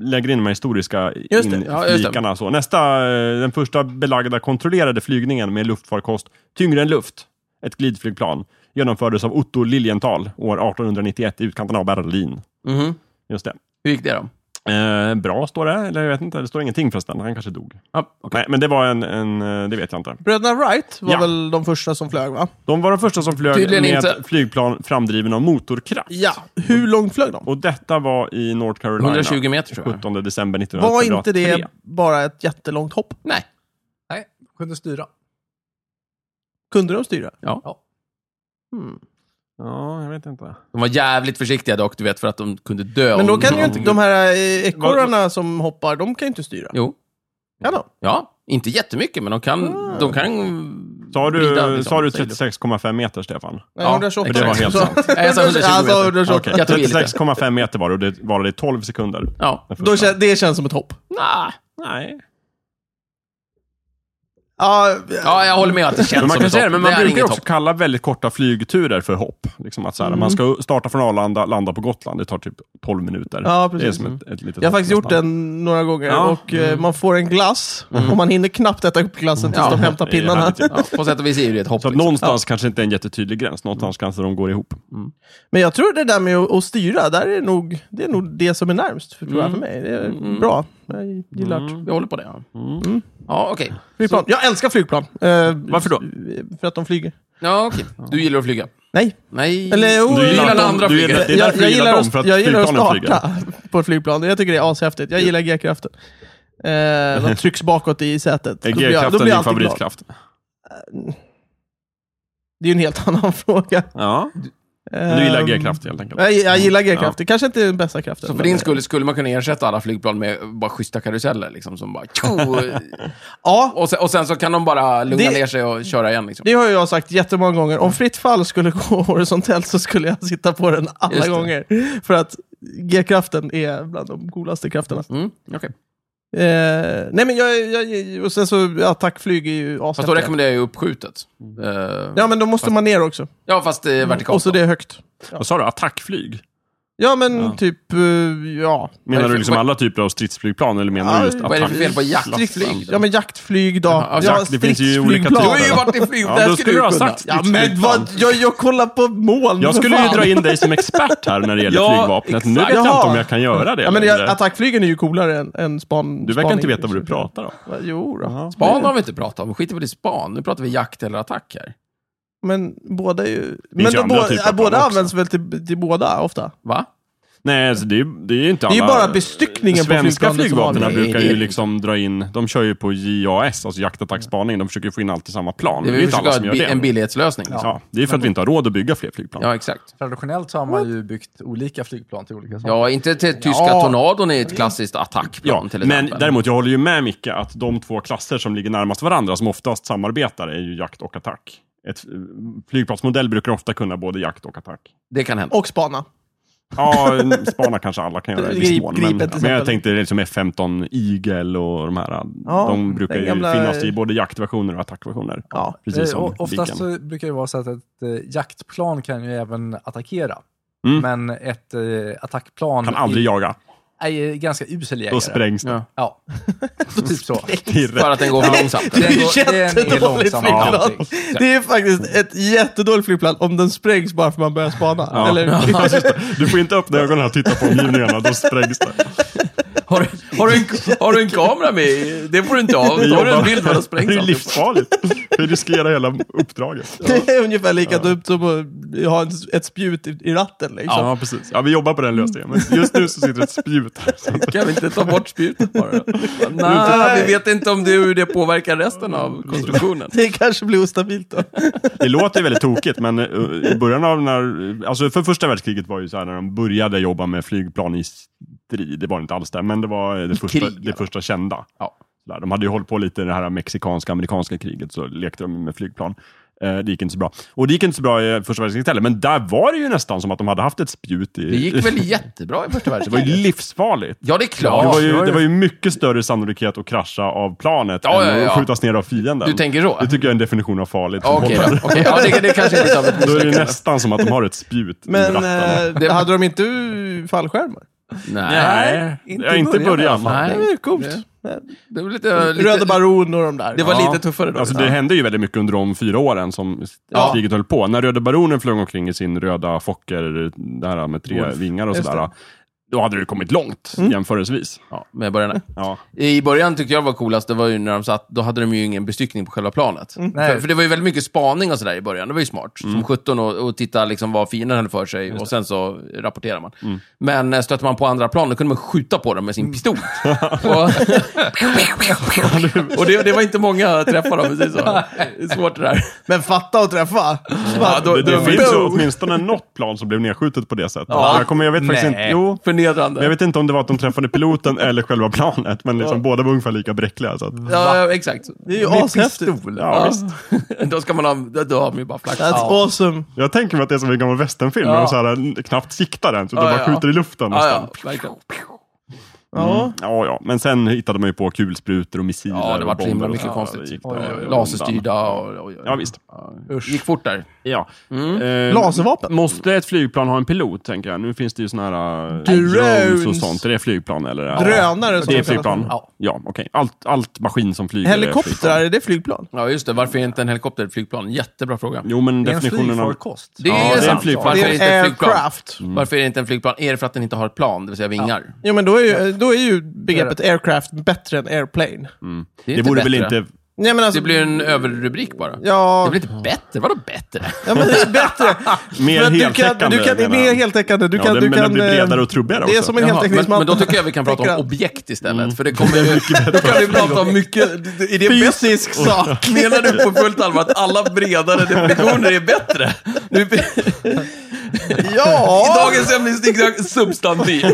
[SPEAKER 3] lägger in de här historiska
[SPEAKER 4] Just det,
[SPEAKER 1] ja, just det.
[SPEAKER 3] inflikarna. så. Nästa, eh, den första belagda kontrollerade flygningen med luftfarkost tyngre än luft, ett glidflygplan, genomfördes av Otto Lilienthal år 1891 i utkanten av Berlin.
[SPEAKER 1] Mhm.
[SPEAKER 3] Just det.
[SPEAKER 1] Hur gick det då?
[SPEAKER 3] Eh, bra står det, eller jag vet inte, det står ingenting förresten, han kanske dog.
[SPEAKER 1] Ja, okej.
[SPEAKER 3] Nej, men det var en, en eh, det vet jag inte.
[SPEAKER 4] Bröderna Wright var
[SPEAKER 3] Ja.
[SPEAKER 4] väl de första som flög va?
[SPEAKER 3] De var de första som flög
[SPEAKER 1] Tydligen
[SPEAKER 3] med
[SPEAKER 1] inte.
[SPEAKER 3] flygplan framdrivna av motorkraft.
[SPEAKER 4] Ja. Hur långt flög de?
[SPEAKER 3] Och detta var i North Carolina.
[SPEAKER 1] 120 meter tror jag.
[SPEAKER 3] 17 december
[SPEAKER 4] Var
[SPEAKER 3] 1903.
[SPEAKER 4] inte det bara ett jättelångt hopp?
[SPEAKER 1] Nej.
[SPEAKER 2] Nej, kunde styra.
[SPEAKER 4] Kunde de styra?
[SPEAKER 1] Ja.
[SPEAKER 2] Ja.
[SPEAKER 3] Ja, jag vet inte.
[SPEAKER 1] De var jävligt försiktiga dock, du vet, för att de kunde dö.
[SPEAKER 4] Men då
[SPEAKER 1] om
[SPEAKER 4] kan ju
[SPEAKER 1] någonting-
[SPEAKER 4] inte, de här eh, ekorrarna som hoppar, de kan ju inte styra.
[SPEAKER 1] Jo.
[SPEAKER 4] Kan de?
[SPEAKER 1] Ja, inte jättemycket, men de kan...
[SPEAKER 3] Ah.
[SPEAKER 1] De kan
[SPEAKER 3] Sa du,
[SPEAKER 1] vrida, liksom,
[SPEAKER 3] sa du
[SPEAKER 1] säger
[SPEAKER 3] 36,5 meter, Stefan?
[SPEAKER 4] Nej,
[SPEAKER 1] Ja,
[SPEAKER 4] 128.
[SPEAKER 3] det var helt [laughs]
[SPEAKER 4] Så-
[SPEAKER 3] sant.
[SPEAKER 1] Nej, jag sa 120
[SPEAKER 4] Ja,
[SPEAKER 1] meter.
[SPEAKER 4] 128.
[SPEAKER 3] Okej,
[SPEAKER 1] Jag tog i lite.
[SPEAKER 3] 36,5 meter var det och det varade i 12 sekunder.
[SPEAKER 1] Ja.
[SPEAKER 3] Den
[SPEAKER 4] Då
[SPEAKER 3] första.
[SPEAKER 4] kän, det känns som ett hopp.
[SPEAKER 1] Nah.
[SPEAKER 3] Nej.
[SPEAKER 4] Ja,
[SPEAKER 1] Ja, jag håller med att det känns
[SPEAKER 3] Men man
[SPEAKER 1] som
[SPEAKER 3] kan
[SPEAKER 1] ett
[SPEAKER 3] säga det,
[SPEAKER 1] hopp.
[SPEAKER 3] men man
[SPEAKER 1] är
[SPEAKER 3] brukar
[SPEAKER 1] inget
[SPEAKER 3] också
[SPEAKER 1] hopp. Mm.
[SPEAKER 3] kalla väldigt korta flygturer för hopp. Liksom att så här, Man ska starta från Arlanda, landa på Gotland. Det tar typ 12 minuter.
[SPEAKER 4] Ja,
[SPEAKER 3] Det är
[SPEAKER 4] precis.
[SPEAKER 3] som ett, ett litet
[SPEAKER 4] Jag har
[SPEAKER 3] hopp
[SPEAKER 4] faktiskt gjort
[SPEAKER 3] nästan.
[SPEAKER 4] den några gånger
[SPEAKER 3] Ja. Mm.
[SPEAKER 4] och eh, man får en glass och man hinner knappt äta upp glassen tills
[SPEAKER 1] Ja.
[SPEAKER 4] de hämtar
[SPEAKER 3] Det är
[SPEAKER 4] pinnarna.
[SPEAKER 3] härligt ju.
[SPEAKER 1] Ja, på sätt och vis är ju det ett hopp.
[SPEAKER 3] Så att
[SPEAKER 1] liksom.
[SPEAKER 3] någonstans kanske inte är en jättetydlig gräns. Någonstans kanske de går ihop.
[SPEAKER 4] Men jag tror det där med att, att styra, där är nog, det är
[SPEAKER 3] Mm.
[SPEAKER 4] nog det som är närmst för, tror jag, för mig. Det är bra. Jag gillar det.
[SPEAKER 3] Mm.
[SPEAKER 1] Jag håller på det. Ja. Ja, okej.
[SPEAKER 4] Flygplan. Jag älskar flygplan. Eh,
[SPEAKER 1] Varför då?
[SPEAKER 4] För att de flyger.
[SPEAKER 1] Ja, okej. Du gillar att flyga?
[SPEAKER 4] Nej.
[SPEAKER 1] Nej.
[SPEAKER 4] Eller, jo,
[SPEAKER 1] du gillar
[SPEAKER 3] att
[SPEAKER 1] när
[SPEAKER 3] de-
[SPEAKER 1] andra
[SPEAKER 3] du
[SPEAKER 1] flyger?
[SPEAKER 3] gillar- Det är
[SPEAKER 4] jag,
[SPEAKER 3] därför du gillar
[SPEAKER 4] jag gillar
[SPEAKER 3] dem,
[SPEAKER 4] att,
[SPEAKER 3] för att
[SPEAKER 4] jag gillar att
[SPEAKER 3] flygplanen
[SPEAKER 4] starta
[SPEAKER 3] flyger.
[SPEAKER 4] på ett flygplan. Jag tycker det är ashäftigt. Jag gillar G-kraften. Eh, de trycks bakåt i sätet. Då blir jag- då
[SPEAKER 3] G-kraften
[SPEAKER 4] blir
[SPEAKER 3] är
[SPEAKER 4] jag
[SPEAKER 3] din
[SPEAKER 4] alltid glad.
[SPEAKER 3] favoritkraft.
[SPEAKER 4] Det är ju en helt annan [laughs] fråga.
[SPEAKER 3] Ja. Du gillar
[SPEAKER 4] Ehm,
[SPEAKER 3] G-kraft helt enkelt.
[SPEAKER 4] Jag, jag gillar G-kraft. Det kanske inte är den bästa kraften.
[SPEAKER 1] Så för
[SPEAKER 4] men-
[SPEAKER 1] din skull skulle man kunna ersätta alla flygplan med bara schyssta karuseller liksom, som bara...
[SPEAKER 3] [laughs]
[SPEAKER 4] Ja,
[SPEAKER 1] och, sen, och sen så kan de bara lugna
[SPEAKER 4] Det-
[SPEAKER 1] ner sig och köra igen liksom.
[SPEAKER 4] Det har ju jag sagt jättemånga gånger. Om fritt fall skulle [laughs] gå horisontellt så skulle jag sitta på den alla
[SPEAKER 1] Just det.
[SPEAKER 4] gånger. För att G-kraften är bland de coolaste krafterna.
[SPEAKER 1] Mm, okej.
[SPEAKER 4] Eh, nej men jag, jag, och sen så, ja, attackflyg är ju
[SPEAKER 1] Fast då
[SPEAKER 4] ashäftiga.
[SPEAKER 1] rekommenderar jag ju uppskjutet.
[SPEAKER 3] Mm.
[SPEAKER 1] Eh,
[SPEAKER 4] Ja men då måste man ner också.
[SPEAKER 1] ja, fast eh, vertikalt.
[SPEAKER 4] Och så
[SPEAKER 1] då.
[SPEAKER 4] det är högt.
[SPEAKER 3] Vad sa du? Attackflyg?
[SPEAKER 4] Ja men
[SPEAKER 3] Ja.
[SPEAKER 4] typ, eh, ja.
[SPEAKER 1] Vad är
[SPEAKER 3] Menar
[SPEAKER 1] det
[SPEAKER 3] du
[SPEAKER 1] för-
[SPEAKER 3] liksom
[SPEAKER 1] vad-
[SPEAKER 3] alla typer av stridsflygplan eller menar
[SPEAKER 4] Ja,
[SPEAKER 3] du just
[SPEAKER 1] Vad är det för fel
[SPEAKER 3] attackflyg?
[SPEAKER 1] på jaktflyg?
[SPEAKER 4] Stridsflyg. Ja men jaktflyg då.
[SPEAKER 1] Jaha,
[SPEAKER 4] ja,
[SPEAKER 3] jakt, det finns ju
[SPEAKER 4] stridsflygplan.
[SPEAKER 3] olika
[SPEAKER 1] Du
[SPEAKER 3] typer.
[SPEAKER 1] har ju varit i flyg,
[SPEAKER 3] Ja,
[SPEAKER 1] det här
[SPEAKER 3] då
[SPEAKER 1] skulle
[SPEAKER 3] skulle
[SPEAKER 1] du
[SPEAKER 3] du ha
[SPEAKER 1] kunna.
[SPEAKER 3] sagt
[SPEAKER 4] Ja men
[SPEAKER 3] stridsflygplan.
[SPEAKER 4] vad, jag, jag kollar på moln.
[SPEAKER 3] Jag
[SPEAKER 4] för
[SPEAKER 3] skulle ju
[SPEAKER 4] fan.
[SPEAKER 3] dra in dig som expert här när det gäller
[SPEAKER 1] Ja,
[SPEAKER 3] flygvapnet. Nu vet
[SPEAKER 1] exakt.
[SPEAKER 3] jag inte
[SPEAKER 4] Jaha.
[SPEAKER 3] om jag kan göra det.
[SPEAKER 4] Ja, men jag,
[SPEAKER 3] längre.
[SPEAKER 4] attackflygen är ju coolare än, än span,
[SPEAKER 3] Du verkar inte
[SPEAKER 4] spaning.
[SPEAKER 3] veta vad du pratar om.
[SPEAKER 4] Va, Jo då.
[SPEAKER 1] Span har vi inte pratat om, skit i vad det är span. Nu pratar vi jakt eller attack här.
[SPEAKER 4] Men båda är ju...
[SPEAKER 3] ju
[SPEAKER 4] Men de
[SPEAKER 3] andra
[SPEAKER 4] bå-
[SPEAKER 3] typer av
[SPEAKER 4] båda
[SPEAKER 3] plan
[SPEAKER 4] används väl till, till båda ofta?
[SPEAKER 1] Va?
[SPEAKER 3] Nej, alltså det, är, det är ju inte
[SPEAKER 4] Det är
[SPEAKER 3] alla...
[SPEAKER 4] ju bara bestyckningen på
[SPEAKER 3] Svenska
[SPEAKER 4] flygplanet som
[SPEAKER 3] flygvapnen
[SPEAKER 4] avgör.
[SPEAKER 3] brukar
[SPEAKER 1] Nej, det
[SPEAKER 3] ju
[SPEAKER 1] är-
[SPEAKER 3] liksom dra in... De kör ju på JAS, alltså jaktattackspaning. De försöker ju få in allt i samma plan.
[SPEAKER 1] Det är
[SPEAKER 3] Det är
[SPEAKER 1] vi
[SPEAKER 3] ju inte alla
[SPEAKER 1] försöker
[SPEAKER 3] som
[SPEAKER 1] ha
[SPEAKER 3] gör
[SPEAKER 1] bi- en
[SPEAKER 3] det.
[SPEAKER 1] billighetslösning. liksom.
[SPEAKER 3] Ja, det är för att vi inte har råd att bygga fler flygplan.
[SPEAKER 1] Ja, exakt.
[SPEAKER 2] Traditionellt så har man ju byggt olika flygplan till olika saker.
[SPEAKER 1] Ja, inte till tyska
[SPEAKER 4] Ja.
[SPEAKER 1] tornadon är ett klassiskt attackplan
[SPEAKER 3] Ja,
[SPEAKER 1] till
[SPEAKER 3] men
[SPEAKER 1] exempel.
[SPEAKER 3] däremot, jag håller ju med Micke att de två klasser som ligger närmast varandra, som oftast samarbetar, är ju jakt och attack. Ett eh, flygplansmodell brukar ofta kunna både jakt och attack.
[SPEAKER 1] Det kan hända.
[SPEAKER 4] Och spana.
[SPEAKER 3] Ja, en- spana kanske alla kan göra i viss
[SPEAKER 4] Grip-
[SPEAKER 3] mån.
[SPEAKER 4] Gripen till
[SPEAKER 3] Men, men
[SPEAKER 4] exempel.
[SPEAKER 3] jag tänkte liksom F-15 Eagle och de här.
[SPEAKER 4] Ja,
[SPEAKER 3] de brukar
[SPEAKER 4] den
[SPEAKER 3] ju
[SPEAKER 4] gamla-
[SPEAKER 3] finnas i både jaktversioner och attackversioner.
[SPEAKER 4] Ja.
[SPEAKER 3] Precis
[SPEAKER 2] Eh,
[SPEAKER 3] som
[SPEAKER 2] o- Oftast
[SPEAKER 3] Viggen.
[SPEAKER 2] så brukar det vara så att ett eh, jaktplan kan ju även attackera.
[SPEAKER 3] Mm.
[SPEAKER 2] Men ett eh, attackplan
[SPEAKER 3] Kan aldrig jaga.
[SPEAKER 2] är, är ganska usel jägare.
[SPEAKER 3] Då sprängs det.
[SPEAKER 1] Ja.
[SPEAKER 2] Ja, [laughs] typ så.
[SPEAKER 1] [laughs]
[SPEAKER 3] Tirret.
[SPEAKER 1] För att den går för
[SPEAKER 3] [laughs]
[SPEAKER 1] långsamt.
[SPEAKER 4] Det är ju
[SPEAKER 2] går- det är en
[SPEAKER 4] jättedåligt
[SPEAKER 2] långsam
[SPEAKER 4] flygplan.
[SPEAKER 2] avveckling.
[SPEAKER 4] Det är faktiskt ett jättedåligt flygplan om den sprängs bara för man börjar spana.
[SPEAKER 3] Ja.
[SPEAKER 4] Eller,
[SPEAKER 3] Ja, just det. Du får inte öppna ögonen och titta på omgivningarna, då sprängs det.
[SPEAKER 1] Har, du- har, du en, har du en kamera med? Det får du inte ha. Tar
[SPEAKER 3] [laughs] Vi
[SPEAKER 1] du
[SPEAKER 3] jobbar-
[SPEAKER 1] en bild för att
[SPEAKER 3] Det är ju
[SPEAKER 1] spränga
[SPEAKER 3] livsfarligt. Vi riskerar hela uppdraget.
[SPEAKER 4] [laughs] det är ungefär lika dumt som att ha en, ett spjut i, i ratten. Liksom.
[SPEAKER 3] Ja, precis. Ja, vi jobbar på den lösningen. Men just nu så sitter ett spjut här. Så att
[SPEAKER 1] Kan vi inte ta bort spjutet bara? Nej, vi vet inte om det, hur det påverkar resten av konstruktionen.
[SPEAKER 4] Det kanske blir
[SPEAKER 3] [laughs]
[SPEAKER 4] ostabilt då.
[SPEAKER 3] Det låter ju väldigt tokigt, men eh, i början av när... Alltså för första världskriget var ju så här när de började jobba med flygplan i strid. Det var inte alls det, men det var eh, det, första,
[SPEAKER 1] krig, ja.
[SPEAKER 3] det första kända.
[SPEAKER 1] Ja.
[SPEAKER 3] Så där, De hade ju hållit på lite i det här mexikanska, amerikanska kriget, så lekte de med flygplan. Eh, Det gick inte så bra. Och det gick inte så bra i eh, första världskriget heller, men där var det ju nästan som att de hade haft ett spjut i...
[SPEAKER 1] Det gick väl jättebra i första
[SPEAKER 3] [laughs] Det var ju
[SPEAKER 1] världskriget?
[SPEAKER 3] livsfarligt.
[SPEAKER 1] Ja, det är
[SPEAKER 3] det,
[SPEAKER 1] klart.
[SPEAKER 3] var ju, det var ju mycket större sannolikhet att krascha av planet
[SPEAKER 1] Ja,
[SPEAKER 3] än
[SPEAKER 1] ja, ja.
[SPEAKER 3] att skjutas ner av fienden.
[SPEAKER 1] Du tänker så?
[SPEAKER 3] Det tycker jag är en definition av farligt. som
[SPEAKER 1] Okej,
[SPEAKER 3] [laughs] håller.
[SPEAKER 1] okay, ja, det, det kanske inte är ett
[SPEAKER 3] Då är det
[SPEAKER 1] misslyckande.
[SPEAKER 3] nästan som att de har ett spjut i
[SPEAKER 4] Men
[SPEAKER 3] ratten.
[SPEAKER 4] eh, hade de inte fallskärmar?
[SPEAKER 1] Nej,
[SPEAKER 3] inte ja, inte i
[SPEAKER 2] början i
[SPEAKER 3] början. fan.
[SPEAKER 1] Nej.
[SPEAKER 4] Det är ju coolt.
[SPEAKER 1] det var lite... lite
[SPEAKER 4] Röda Baron och de där.
[SPEAKER 1] det var
[SPEAKER 3] Ja.
[SPEAKER 1] lite tuffare då.
[SPEAKER 3] Alltså, det hände ju väldigt mycket under de fyra åren som
[SPEAKER 4] Ja.
[SPEAKER 3] kriget höll på. När Röda Baronen flög omkring i sin röda Fokker, det här med tre
[SPEAKER 4] Wolf.
[SPEAKER 3] vingar och
[SPEAKER 4] Just
[SPEAKER 3] sådär. Då hade det ju kommit långt jämförelsevis.
[SPEAKER 1] Ja, med början.
[SPEAKER 3] Ja.
[SPEAKER 1] I början tyckte jag var coolast, det var ju när de satt, då hade de ju ingen bestyckning på själva planet.
[SPEAKER 2] Nej.
[SPEAKER 1] För, för det var ju väldigt mycket spaning och sådär i början, det var ju smart. Som 17 och, och titta liksom vad fienden hade för sig och sen så rapporterar man. Men eh, stötte man på andra plan, då kunde man skjuta på dem med sin pistol. [laughs] och och det, det var inte många träffar av precis så. Det är svårt det där.
[SPEAKER 4] Men fatta att träffa!
[SPEAKER 1] Ja, då,
[SPEAKER 3] Det, det
[SPEAKER 1] då,
[SPEAKER 3] finns ju åtminstone något plan som blev nedskjutet på det sättet. Jag, kommer, jag vet faktiskt
[SPEAKER 2] Nej.
[SPEAKER 3] inte. Jo,
[SPEAKER 1] förnedrande.
[SPEAKER 3] men jag vet inte om det var att de träffade piloten eller själva planet, men liksom båda var ungefär lika bräckliga. Så att,
[SPEAKER 1] Ja, ja, exakt.
[SPEAKER 4] Det är ju
[SPEAKER 1] Med
[SPEAKER 4] ashäftigt.
[SPEAKER 1] pistol.
[SPEAKER 3] Ja,
[SPEAKER 1] Ja, [laughs]
[SPEAKER 3] visst.
[SPEAKER 1] då ska man ha, då- då har man ju bara flax.
[SPEAKER 4] That's awesome.
[SPEAKER 3] jag tänker mig att det är som en gammal västernfilm,
[SPEAKER 1] Ja.
[SPEAKER 3] där de så här, knappt siktar ens, utan
[SPEAKER 1] Ja,
[SPEAKER 3] bara
[SPEAKER 1] ja.
[SPEAKER 3] skjuter i luften. nästan.
[SPEAKER 1] Ja, ja, verkligen.
[SPEAKER 4] Ja.
[SPEAKER 3] Mm. Ja, ja, men sen hittade man ju på kulsprutor och missiler
[SPEAKER 1] Ja, det
[SPEAKER 3] och
[SPEAKER 1] var så himla
[SPEAKER 3] bomber och
[SPEAKER 1] mycket
[SPEAKER 3] sånt.
[SPEAKER 1] konstigt.
[SPEAKER 3] det gick
[SPEAKER 2] Oj,
[SPEAKER 3] där
[SPEAKER 2] oj, oj.
[SPEAKER 3] undan.
[SPEAKER 1] Laserstyrda och... och,
[SPEAKER 3] Ja, visst.
[SPEAKER 2] Usch.
[SPEAKER 1] Gick fort där.
[SPEAKER 3] Ja. Eh,
[SPEAKER 4] Laservapen.
[SPEAKER 3] Måste ett flygplan ha en pilot, tänker jag? Nu finns det ju såna här eh,
[SPEAKER 4] Drones.
[SPEAKER 3] drones och sånt. Är det flygplan eller? Ja.
[SPEAKER 4] Drönare som
[SPEAKER 3] Det är
[SPEAKER 4] de kallar
[SPEAKER 3] flygplan?
[SPEAKER 4] dem.
[SPEAKER 3] Ja, okej. Allt, allt maskin som flyger är
[SPEAKER 4] Helikoptrar,
[SPEAKER 3] flygplan.
[SPEAKER 4] är det flygplan?
[SPEAKER 1] Ja, just det. Varför är inte en helikopter ett flygplan? Jättebra fråga.
[SPEAKER 3] Jo, men
[SPEAKER 2] Det är en
[SPEAKER 3] definitionen av...
[SPEAKER 2] flygfarkost.
[SPEAKER 1] Det
[SPEAKER 3] Ja,
[SPEAKER 1] är,
[SPEAKER 3] det är en
[SPEAKER 1] sant.
[SPEAKER 3] flygplan.
[SPEAKER 1] Varför
[SPEAKER 4] Det
[SPEAKER 1] är
[SPEAKER 4] är
[SPEAKER 1] det
[SPEAKER 4] en
[SPEAKER 1] inte en flygplan?
[SPEAKER 4] aircraft.
[SPEAKER 1] Varför är det inte en flygplan? Är det för att den inte har ett plan, det vill säga vingar?
[SPEAKER 4] Jo men då är ju, då är ju begreppet aircraft bättre än airplane.
[SPEAKER 1] Det, är
[SPEAKER 3] Det
[SPEAKER 1] inte
[SPEAKER 3] borde
[SPEAKER 1] bättre.
[SPEAKER 3] väl inte...
[SPEAKER 4] Nej, men alltså,
[SPEAKER 1] Mm. Det blir en överrubrik bara.
[SPEAKER 4] Ja,
[SPEAKER 1] Det blir inte bättre. Vadå bättre?
[SPEAKER 4] ja, men det är
[SPEAKER 1] [laughs]
[SPEAKER 4] bättre.
[SPEAKER 3] Mer
[SPEAKER 4] Men du kan,
[SPEAKER 3] heltäckande,
[SPEAKER 4] du kan, det är
[SPEAKER 3] menar
[SPEAKER 4] mer
[SPEAKER 3] jag.
[SPEAKER 4] heltäckande. Du
[SPEAKER 3] Ja,
[SPEAKER 4] kan,
[SPEAKER 3] det-
[SPEAKER 4] du
[SPEAKER 3] men
[SPEAKER 4] kan,
[SPEAKER 3] den blir
[SPEAKER 4] eh,
[SPEAKER 3] bredare och trubbigare
[SPEAKER 4] Det är
[SPEAKER 3] också.
[SPEAKER 4] som en
[SPEAKER 1] Jaha, men,
[SPEAKER 4] heltäckningsmatta.
[SPEAKER 1] men då tycker jag vi kan prata om objekt istället. För det kommer ju... Då kan vi prata om mycket... Är det
[SPEAKER 4] Fysisk
[SPEAKER 1] bättre?
[SPEAKER 4] sak.
[SPEAKER 1] Menar du på fullt allvar att alla bredare definitioner är bättre? Nu, I
[SPEAKER 4] Ja!
[SPEAKER 1] dagens ämnesstick
[SPEAKER 4] [laughs]
[SPEAKER 1] substantiv.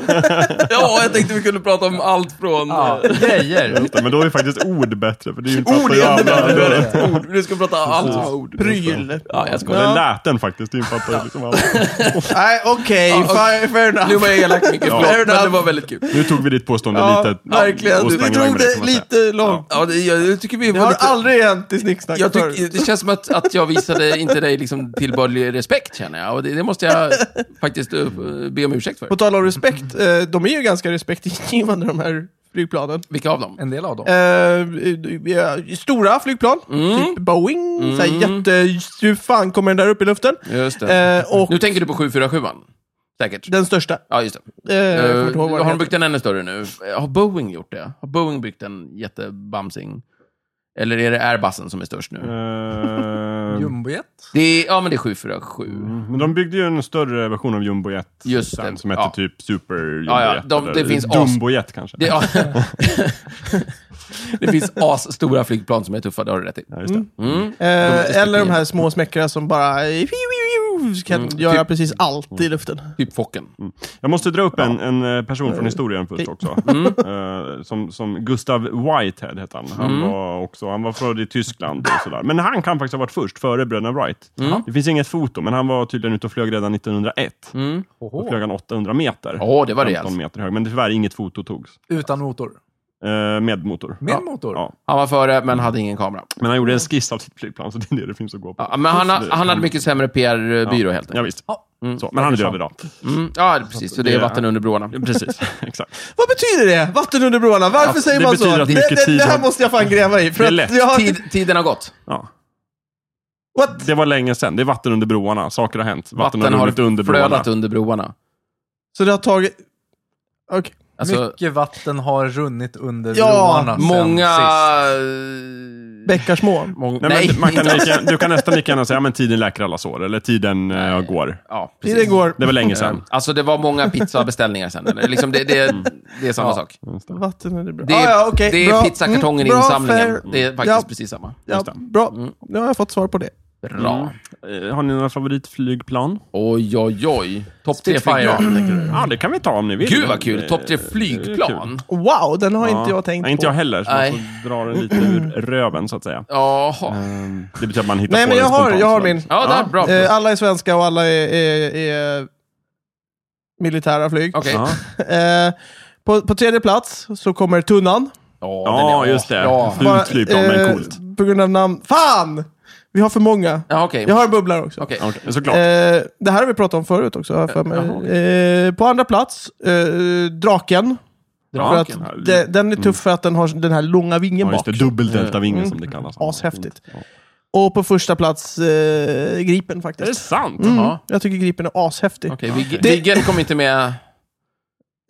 [SPEAKER 1] Ja, jag tänkte vi kunde prata om allt från...
[SPEAKER 2] Ja, grejer.
[SPEAKER 3] Men då är faktiskt ord bättre. För det är ju inte
[SPEAKER 1] Ord
[SPEAKER 3] fattar ju
[SPEAKER 1] är
[SPEAKER 3] alla.
[SPEAKER 1] jättebra, det är ord. Du ska prata allt från ord.
[SPEAKER 4] Pryl.
[SPEAKER 1] Ja, jag skojar.
[SPEAKER 3] Eller läten faktiskt. Det infattar ju liksom alla.
[SPEAKER 4] Nej, okej.
[SPEAKER 1] Ja, okej.
[SPEAKER 4] fair, fair enough.
[SPEAKER 1] Nu var jag elak, Micke. Förlåt,
[SPEAKER 4] Fair
[SPEAKER 1] men det
[SPEAKER 4] enough.
[SPEAKER 1] var väldigt kul.
[SPEAKER 3] Nu tog vi ditt påstående
[SPEAKER 4] Ja,
[SPEAKER 3] lite
[SPEAKER 1] verkligen.
[SPEAKER 3] och
[SPEAKER 1] Du-
[SPEAKER 4] Du
[SPEAKER 3] sprang iväg
[SPEAKER 4] drog
[SPEAKER 3] med det,
[SPEAKER 4] det
[SPEAKER 3] kan man säga.
[SPEAKER 4] lite långt.
[SPEAKER 1] Ja, det, jag, jag tycker vi
[SPEAKER 4] Det
[SPEAKER 1] var
[SPEAKER 4] har
[SPEAKER 1] lite...
[SPEAKER 4] aldrig hänt i Snicksnack
[SPEAKER 1] Jag
[SPEAKER 4] förut.
[SPEAKER 1] tyck, det känns som att, att jag visade inte dig liksom tillbörlig respekt, känner jag. Och det, det måste jag faktiskt eh, be om ursäkt för.
[SPEAKER 4] På tal om respekt, eh, de är ju ganska respektingivande de här flygplanen.
[SPEAKER 1] Vilka av dem?
[SPEAKER 2] En del av dem.
[SPEAKER 4] Eh,
[SPEAKER 3] Ehm,
[SPEAKER 4] eh, stora flygplan,
[SPEAKER 1] Mm.
[SPEAKER 4] typ Boeing, så här jätte... Hur fan kommer den där upp i luften?
[SPEAKER 1] Just det.
[SPEAKER 4] Eh, och
[SPEAKER 1] Nu tänker du på 747 Säkert.
[SPEAKER 4] den största.
[SPEAKER 1] Ja, just det.
[SPEAKER 4] Eh, jag kommer inte
[SPEAKER 1] Eh,
[SPEAKER 4] ihåg vad den
[SPEAKER 1] har de
[SPEAKER 4] heter.
[SPEAKER 1] byggt en ännu större nu? Eh, Har Boeing gjort det? Har Boeing byggt en jättebamsing? Eller är det Airbusen som är störst
[SPEAKER 3] Mm.
[SPEAKER 1] nu?
[SPEAKER 3] Eh,
[SPEAKER 2] Jumbojet.
[SPEAKER 1] Det är, ja, men det är 747.
[SPEAKER 3] Men de byggde ju en större version av Jumbojet.
[SPEAKER 1] Just
[SPEAKER 3] sen,
[SPEAKER 1] det,
[SPEAKER 3] Mm. Som hette
[SPEAKER 1] ja.
[SPEAKER 3] typ Super Jumbojet.
[SPEAKER 1] Ja, ja, de-
[SPEAKER 3] eller
[SPEAKER 1] det finns as-
[SPEAKER 3] Dumbojet kanske.
[SPEAKER 1] Det, ja.
[SPEAKER 3] [laughs]
[SPEAKER 1] det finns as-stora flygplan som är tuffa, det har du rätt i.
[SPEAKER 3] Ja, just det.
[SPEAKER 1] Mm.
[SPEAKER 4] Eh, eller de här små smäckare som bara eh, fiu, fiu, fiu, kan
[SPEAKER 1] Mm,
[SPEAKER 4] göra
[SPEAKER 1] typ-
[SPEAKER 4] precis allt i luften.
[SPEAKER 1] Typ Focken.
[SPEAKER 3] Jag måste dra upp en, en eh, person från historien först också.
[SPEAKER 1] Mm.
[SPEAKER 3] Eh, som, som Gustav Whitehead hette han. Han,
[SPEAKER 1] Mm.
[SPEAKER 3] var också, han var född i Tyskland och sådär. Men han kan faktiskt ha varit först, före bröderna Wright.
[SPEAKER 1] Mm.
[SPEAKER 3] Det finns inget foto, men han var tydligen ute och flög redan 1901. Då flög han 800 meter.
[SPEAKER 1] Mm. Åh, det var rejält.
[SPEAKER 3] 15 meter hög, men tyvärr inget foto togs.
[SPEAKER 2] Utan motor.
[SPEAKER 3] Eh, med motor.
[SPEAKER 2] Med
[SPEAKER 1] Ja.
[SPEAKER 2] motor.
[SPEAKER 3] Ja.
[SPEAKER 1] Han var före, men hade ingen kamera.
[SPEAKER 3] Men han gjorde en skiss av sitt flygplan, så det är det det finns att gå på.
[SPEAKER 1] Ja, men han, ha- han hade mycket sämre PR-byrå helt
[SPEAKER 3] Ja,
[SPEAKER 1] enkelt.
[SPEAKER 3] visst.
[SPEAKER 2] Ja.
[SPEAKER 3] Så, men han är död idag.
[SPEAKER 1] Mm. Ja, precis. Så det är vatten under broarna.
[SPEAKER 3] Precis, [laughs] exakt.
[SPEAKER 4] Vad betyder det? Vatten under broarna? Varför
[SPEAKER 3] Ja,
[SPEAKER 4] säger
[SPEAKER 3] det
[SPEAKER 4] man så?
[SPEAKER 3] betyder
[SPEAKER 4] Det,
[SPEAKER 3] att mycket
[SPEAKER 4] det,
[SPEAKER 3] tid
[SPEAKER 4] det här
[SPEAKER 3] har-
[SPEAKER 4] måste jag fan gräva i. För
[SPEAKER 3] Det är
[SPEAKER 4] att
[SPEAKER 3] lätt.
[SPEAKER 4] Jag har...
[SPEAKER 1] Tid, tiden har gått.
[SPEAKER 3] Ja.
[SPEAKER 4] What?
[SPEAKER 3] Det var länge sedan. Det är vatten under broarna. Saker har hänt. Vatten,
[SPEAKER 1] Vatten
[SPEAKER 3] har
[SPEAKER 1] har
[SPEAKER 3] runnit under broarna.
[SPEAKER 1] flödat under broarna.
[SPEAKER 4] Så det har tagit... Okej.
[SPEAKER 1] Alltså,
[SPEAKER 2] Mycket vatten har runnit under
[SPEAKER 4] Ja,
[SPEAKER 2] broarna sen
[SPEAKER 1] många...
[SPEAKER 2] sist.
[SPEAKER 4] Bäckar små.
[SPEAKER 1] Mång...
[SPEAKER 3] Nej,
[SPEAKER 1] Nej, [laughs]
[SPEAKER 3] Men man kan
[SPEAKER 1] inte-
[SPEAKER 3] lika, du kan nästan lika gärna säga men tiden läker alla sår, eller tiden eh, går.
[SPEAKER 1] Ja, precis.
[SPEAKER 4] Tiden går.
[SPEAKER 3] Det var länge sedan.
[SPEAKER 1] Eh, Alltså, det var många pizzabeställningar sen. Eller? Liksom det, det, det är samma
[SPEAKER 2] Ja.
[SPEAKER 1] sak.
[SPEAKER 4] Vatten under broarna.
[SPEAKER 1] Det är,
[SPEAKER 4] ah, ja, okej.
[SPEAKER 1] det är
[SPEAKER 4] Bra.
[SPEAKER 1] pizzakartongen i
[SPEAKER 4] Mm, bra,
[SPEAKER 1] insamlingen.
[SPEAKER 4] fair.
[SPEAKER 1] Det är Mm. faktiskt
[SPEAKER 4] Ja.
[SPEAKER 1] precis samma.
[SPEAKER 4] Ja,
[SPEAKER 3] Just det.
[SPEAKER 4] bra. Nu har jag fått svar på det.
[SPEAKER 1] Bra.
[SPEAKER 3] Eh, Har ni några favoritflygplan?
[SPEAKER 1] Oj, oj, oj. Topp tre
[SPEAKER 2] Spitfire.
[SPEAKER 1] flygplan, tänker du?
[SPEAKER 3] Ja, det kan vi ta om ni vill.
[SPEAKER 1] Gud vad kul!
[SPEAKER 3] Eh,
[SPEAKER 1] Topp tre
[SPEAKER 3] Mm. det är kul.
[SPEAKER 1] flygplan?
[SPEAKER 4] Wow, den har
[SPEAKER 3] Ja.
[SPEAKER 4] inte jag tänkt
[SPEAKER 3] Nej, inte
[SPEAKER 4] på.
[SPEAKER 3] jag heller, så
[SPEAKER 1] Nej.
[SPEAKER 3] man får dra den lite ur röven, så att säga. Ehm,
[SPEAKER 1] Jaha.
[SPEAKER 3] Det betyder att man hittar
[SPEAKER 4] Nej,
[SPEAKER 3] på
[SPEAKER 4] men
[SPEAKER 3] den
[SPEAKER 4] jag har-
[SPEAKER 3] spontant,
[SPEAKER 4] jag har
[SPEAKER 3] så.
[SPEAKER 4] min.
[SPEAKER 1] Ja, där. Bra.
[SPEAKER 4] Eh, alla är svenska och alla är, är, är eh, militära flyg.
[SPEAKER 1] Okej.
[SPEAKER 3] Ja,
[SPEAKER 4] [laughs] Eh, på, på tredje plats så kommer tunnan.
[SPEAKER 1] den
[SPEAKER 3] ja
[SPEAKER 1] är-
[SPEAKER 3] just det.
[SPEAKER 1] Ja,
[SPEAKER 3] Fult
[SPEAKER 4] Bara,
[SPEAKER 3] flygplan, men
[SPEAKER 4] eh,
[SPEAKER 3] coolt.
[SPEAKER 4] På grund av namn. Fan! Vi har för många.
[SPEAKER 1] ja okej.
[SPEAKER 4] Jag har en bubblar också.
[SPEAKER 1] Okej.
[SPEAKER 3] Okej, såklart.
[SPEAKER 4] Eh, det här har vi pratat om förut också. har jag För mig. Eh, på andra plats, eh, draken. För
[SPEAKER 1] Draken.
[SPEAKER 4] att de, den är tuff för att den har den här långa vingen
[SPEAKER 3] Ja, just
[SPEAKER 4] bak.
[SPEAKER 3] det. Dubbeldeltavingen som det kallas.
[SPEAKER 4] mm, Ashäftigt.
[SPEAKER 3] Ja.
[SPEAKER 4] Och på första plats, eh, gripen
[SPEAKER 3] Är det
[SPEAKER 4] faktiskt. Mm.
[SPEAKER 3] sant?
[SPEAKER 1] Ja.
[SPEAKER 4] Jag tycker gripen är ashäftig.
[SPEAKER 1] Okej, Vig-
[SPEAKER 4] Det-
[SPEAKER 1] Viggen kom inte med...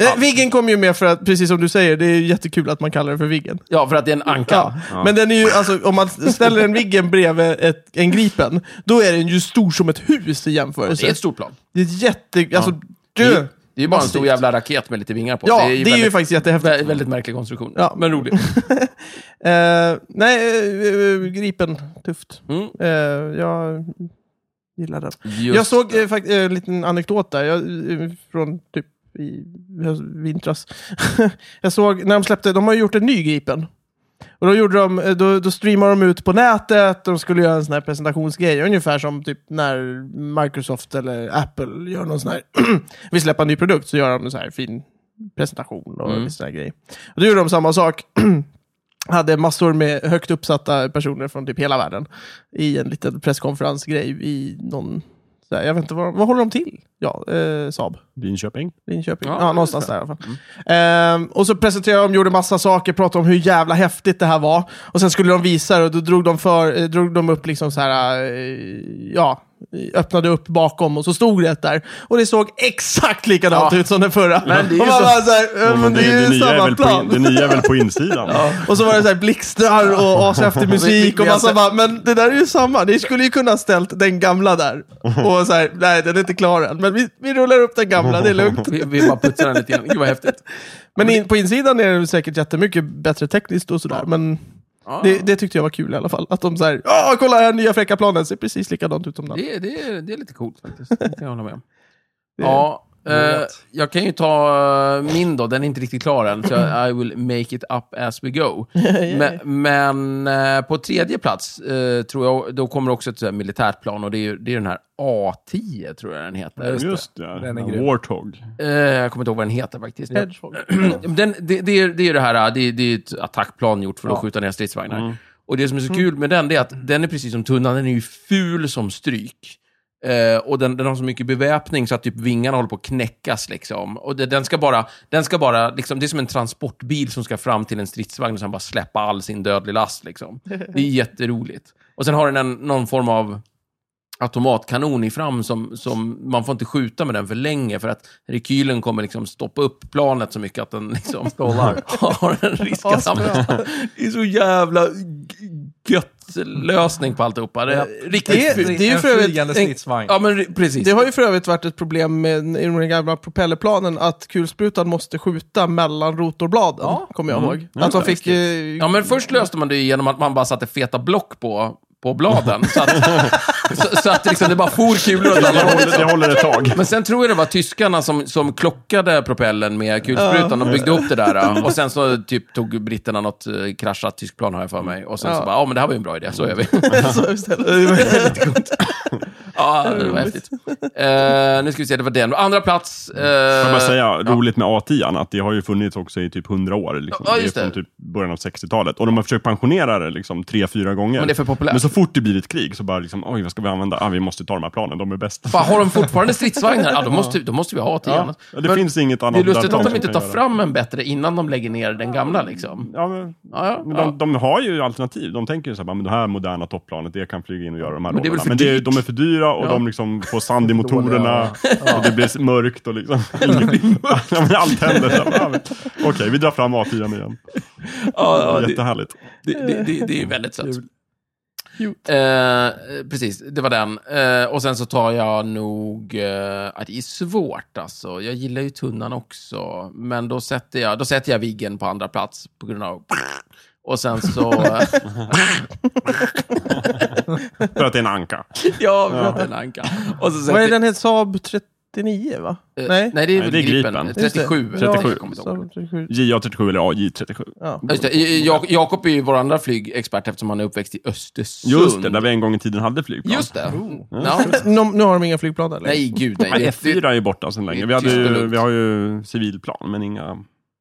[SPEAKER 4] Eh, Viggen kom ju med för att, precis som du säger, det är jättekul att man kallar det för Viggen.
[SPEAKER 1] Ja, för att det är en
[SPEAKER 4] Ja.
[SPEAKER 1] anka.
[SPEAKER 3] Ja.
[SPEAKER 4] Men den är ju, alltså, om man ställer en Viggen bredvid ett, en Gripen, då är den ju stor som ett hus i jämförelse.
[SPEAKER 1] Det är ett stort plan.
[SPEAKER 4] Det är jätte... Alltså,
[SPEAKER 1] Det är,
[SPEAKER 4] dö.
[SPEAKER 1] det är ju bara en
[SPEAKER 4] Massivt.
[SPEAKER 1] stor jävla raket med lite vingar på.
[SPEAKER 4] Ja, det är ju,
[SPEAKER 1] väldigt,
[SPEAKER 4] faktiskt jättehäftigt.
[SPEAKER 1] vä- väldigt märklig konstruktion.
[SPEAKER 4] Ja.
[SPEAKER 1] Men rolig.
[SPEAKER 4] Eh, nej, eh, eh, Gripen. Tufft.
[SPEAKER 1] Mm.
[SPEAKER 4] Eh, jag gillar den.
[SPEAKER 1] Just-
[SPEAKER 4] [laughs] Jag såg eh, fakt- eh, en liten anekdot där, jag, eh, från typ i höst- vintras. [laughs] jag såg när de släppte, de har ju gjort en ny Gripen. Och då, gjorde de, eh, då, då streamade de ut på nätet, de skulle göra en sån här presentationsgrej, ungefär som typ när Microsoft eller Apple gör någon sån här, vi släpper en ny produkt så gör de en sån här fin presentation och mm. sån här grej. Och då gjorde de samma sak, [clears throat] hade massor med högt uppsatta personer från typ hela världen i en liten presskonferensgrej i någon så här, jag vet inte, vad, vad håller de till? Ja, eh, Saab,
[SPEAKER 3] Linköping?
[SPEAKER 4] Linköping.
[SPEAKER 1] Ja,
[SPEAKER 4] Ja,
[SPEAKER 1] just Mm.
[SPEAKER 4] någonstans där i alla fall. Ehm, och så presenterade de, gjorde massa saker, pratade om hur jävla häftigt det här var. Och sen skulle de visa det och då drog de, för, eh, drog de upp liksom så här, eh, ja, öppnade upp bakom och så stod det ett där. Och det såg exakt likadant
[SPEAKER 1] Ja.
[SPEAKER 4] ut som den förra.
[SPEAKER 1] Men det är
[SPEAKER 4] och
[SPEAKER 1] ju
[SPEAKER 4] man
[SPEAKER 1] så-
[SPEAKER 4] bara så här, "Ja, men det är ju
[SPEAKER 3] nya är
[SPEAKER 4] samma
[SPEAKER 3] väl på, in- det
[SPEAKER 4] plan.
[SPEAKER 3] nya är väl på insidan?
[SPEAKER 4] [laughs] Och så var det så här blixtar och
[SPEAKER 1] [laughs]
[SPEAKER 4] ashäftig
[SPEAKER 1] Vi-
[SPEAKER 4] musik
[SPEAKER 1] vi-
[SPEAKER 4] och
[SPEAKER 1] vi har
[SPEAKER 4] massa
[SPEAKER 1] sett-
[SPEAKER 4] bara, men det där är ju samma. Ni skulle ju kunna ha ställt den
[SPEAKER 3] [laughs]
[SPEAKER 4] gamla där. Och så här, nej den är inte klar än. Men vi, vi rullar upp den gamla, det är
[SPEAKER 1] [laughs]
[SPEAKER 4] lugnt.
[SPEAKER 1] Vi, vi bara putsar den lite grann. Gud vad häftigt.
[SPEAKER 4] Men in, på insidan är det säkert jättemycket bättre tekniskt och sådär. Men
[SPEAKER 1] Ja,
[SPEAKER 4] det, det tyckte jag var kul i alla fall. Att de såhär, ja kolla här nya fräcka planen, ser precis likadant ut som den.
[SPEAKER 1] det, det, är- det är lite coolt faktiskt. Det kan jag hålla med
[SPEAKER 4] [laughs]
[SPEAKER 1] om. Ja, eh, jag kan ju ta eh, min då. Den är inte riktigt klar än, så jag- I will make it up as we
[SPEAKER 4] [laughs]
[SPEAKER 1] go. Men, men eh, på tredje plats, eh, tror jag, då kommer också ett så här militärt plan och det är, ju- det är den här A10, tror jag den heter.
[SPEAKER 3] Just det,
[SPEAKER 2] Den är
[SPEAKER 3] en
[SPEAKER 2] grym.
[SPEAKER 3] Warthog.
[SPEAKER 1] Eh, jag kommer inte ihåg vad den heter faktiskt.
[SPEAKER 4] Hedgehog.
[SPEAKER 1] [clears throat] Den, det, det, är, det är ju det här, äh, det, är- det är ett attackplan gjort för att skjuta ner stridsvagnar. Och det som är så kul med den, det är att den är precis som tunnan, den är ju ful som stryk. Eh, och den, den har så mycket beväpning så att typ vingarna håller på att knäckas liksom. Och det, den ska bara, den ska bara liksom, det är som en transportbil som ska fram till en stridsvagn och sen bara släppa all sin dödlig last liksom. Det är jätteroligt. Och sen har den en, någon form av automatkanon i fram som, som man får inte skjuta med den för länge för att rekylen kommer liksom stoppa upp planet så mycket att den
[SPEAKER 4] [laughs]
[SPEAKER 1] liksom har en risk att hamna. Det är så jävla g- gött lösning på alltihopa. Det är riktigt
[SPEAKER 4] Det är-
[SPEAKER 1] fult.
[SPEAKER 4] det är ju
[SPEAKER 2] en
[SPEAKER 4] för övrigt
[SPEAKER 2] flygande
[SPEAKER 4] en-
[SPEAKER 2] stridsvagn.
[SPEAKER 1] Ja, men re- precis.
[SPEAKER 4] Det har ju för övrigt varit ett problem med i de gamla propellerplanen att kulsprutan måste skjuta mellan rotorbladen, kommer jag ihåg. Att de fick... Eh,
[SPEAKER 1] Mm. Ja, men först löste man det ju genom att man bara satte feta block på, på bladen. så
[SPEAKER 4] [laughs]
[SPEAKER 1] att, så, så att liksom det bara for kulor åt alla
[SPEAKER 3] Det
[SPEAKER 1] håll.
[SPEAKER 3] håller, det håller ett tag.
[SPEAKER 1] [laughs] Men sen tror jag det var tyskarna som, som klockade propellen med kulsprutan och byggde upp det där. Och sen så typ tog britterna något eh, kraschat tyskt plan, har jag för mig. Och sen så
[SPEAKER 4] Ja.
[SPEAKER 1] bara, ja men det här var ju en bra idé, så är
[SPEAKER 3] [laughs]
[SPEAKER 1] vi.
[SPEAKER 4] [laughs]
[SPEAKER 1] [laughs]
[SPEAKER 4] så istället.
[SPEAKER 1] ja, det
[SPEAKER 3] Mm.
[SPEAKER 1] var häftigt. Eh, nu ska vi se, det var den. Andra plats. Uh,
[SPEAKER 3] Får jag bara säga, roligt med A10, att det har ju funnits också i typ 100 år. Liksom.
[SPEAKER 1] Ja,
[SPEAKER 3] det är
[SPEAKER 1] just
[SPEAKER 3] från
[SPEAKER 1] det.
[SPEAKER 3] typ början av 60-talet. Och de har försökt pensionera det liksom tre, fyra gånger.
[SPEAKER 1] Men det är för populärt.
[SPEAKER 3] Men så fort det blir ett krig så bara liksom, oj, vad ska vi använda? Ah, vi måste ta de här planen, de är bäst.
[SPEAKER 1] Fan, har de fortfarande stridsvagnar? Ja, då måste, då måste vi ha ett
[SPEAKER 3] Ja,
[SPEAKER 1] igen.
[SPEAKER 3] det
[SPEAKER 1] Men
[SPEAKER 3] finns inget
[SPEAKER 1] det
[SPEAKER 3] annat
[SPEAKER 1] är lustigt
[SPEAKER 3] där
[SPEAKER 1] att
[SPEAKER 3] som
[SPEAKER 1] de inte
[SPEAKER 3] kan
[SPEAKER 1] tar
[SPEAKER 3] göra.
[SPEAKER 1] fram en bättre innan de lägger ner den gamla liksom.
[SPEAKER 3] Ja, men,
[SPEAKER 1] Ja, ja,
[SPEAKER 3] men
[SPEAKER 1] ja.
[SPEAKER 3] de, de har ju alternativ. De tänker ju så här, bara, men det här moderna topplanet, det kan flyga in och göra de här
[SPEAKER 1] Men det är väl
[SPEAKER 3] rollerna.
[SPEAKER 1] för
[SPEAKER 3] Men det är,
[SPEAKER 1] dyrt.
[SPEAKER 3] de är för dyra och
[SPEAKER 1] Ja.
[SPEAKER 3] de liksom
[SPEAKER 1] [laughs]
[SPEAKER 3] får sand i motorerna. Och det blir mörkt och liksom... [laughs] Ja, men Allt händer. Så här, bara, ja, men, Okej, vi drar fram A4 igen.
[SPEAKER 1] Ja, ja, det-
[SPEAKER 3] Jättehärligt.
[SPEAKER 1] Det, det, det, det är ju väldigt sött. Eh, precis, det var den. Eh, och sen så tar jag nog... Eh, ja, det är svårt alltså. Jag gillar ju tunnan också. Men då sätter jag, då sätter jag Viggen på andra plats på grund av... Och sen [laughs] så...
[SPEAKER 3] För att det är en anka.
[SPEAKER 1] ja, vi pratar en anka. Och så
[SPEAKER 4] Vad är
[SPEAKER 1] sätter,
[SPEAKER 4] den heter? Saab 39 va?
[SPEAKER 1] eh,
[SPEAKER 4] Nej?
[SPEAKER 1] nej, det är
[SPEAKER 3] Nej,
[SPEAKER 1] väl
[SPEAKER 3] det är
[SPEAKER 1] Gripen.
[SPEAKER 3] Gripen.
[SPEAKER 4] Just det.
[SPEAKER 1] 37.
[SPEAKER 4] Ja,
[SPEAKER 1] 37. Jag kommer inte ihåg.
[SPEAKER 4] Saab 37.
[SPEAKER 3] JA37 eller AJ37.
[SPEAKER 4] Ja.
[SPEAKER 1] Just det, eh, Jak- Jakob är ju vår andra flygexpert eftersom han är uppväxt i Östersund.
[SPEAKER 3] Just det, där vi en gång i tiden hade flygplan.
[SPEAKER 1] Just det.
[SPEAKER 2] Oh.
[SPEAKER 1] Ja.
[SPEAKER 4] Nu, nu har de inga flygplan eller?
[SPEAKER 1] Nej, gud nej.
[SPEAKER 3] Nej,
[SPEAKER 1] Det- det-
[SPEAKER 3] F4 är ju borta sedan länge. Vi, hade
[SPEAKER 1] Tyst och
[SPEAKER 3] ju,
[SPEAKER 1] lugnt.
[SPEAKER 3] vi har ju civilplan, men inga...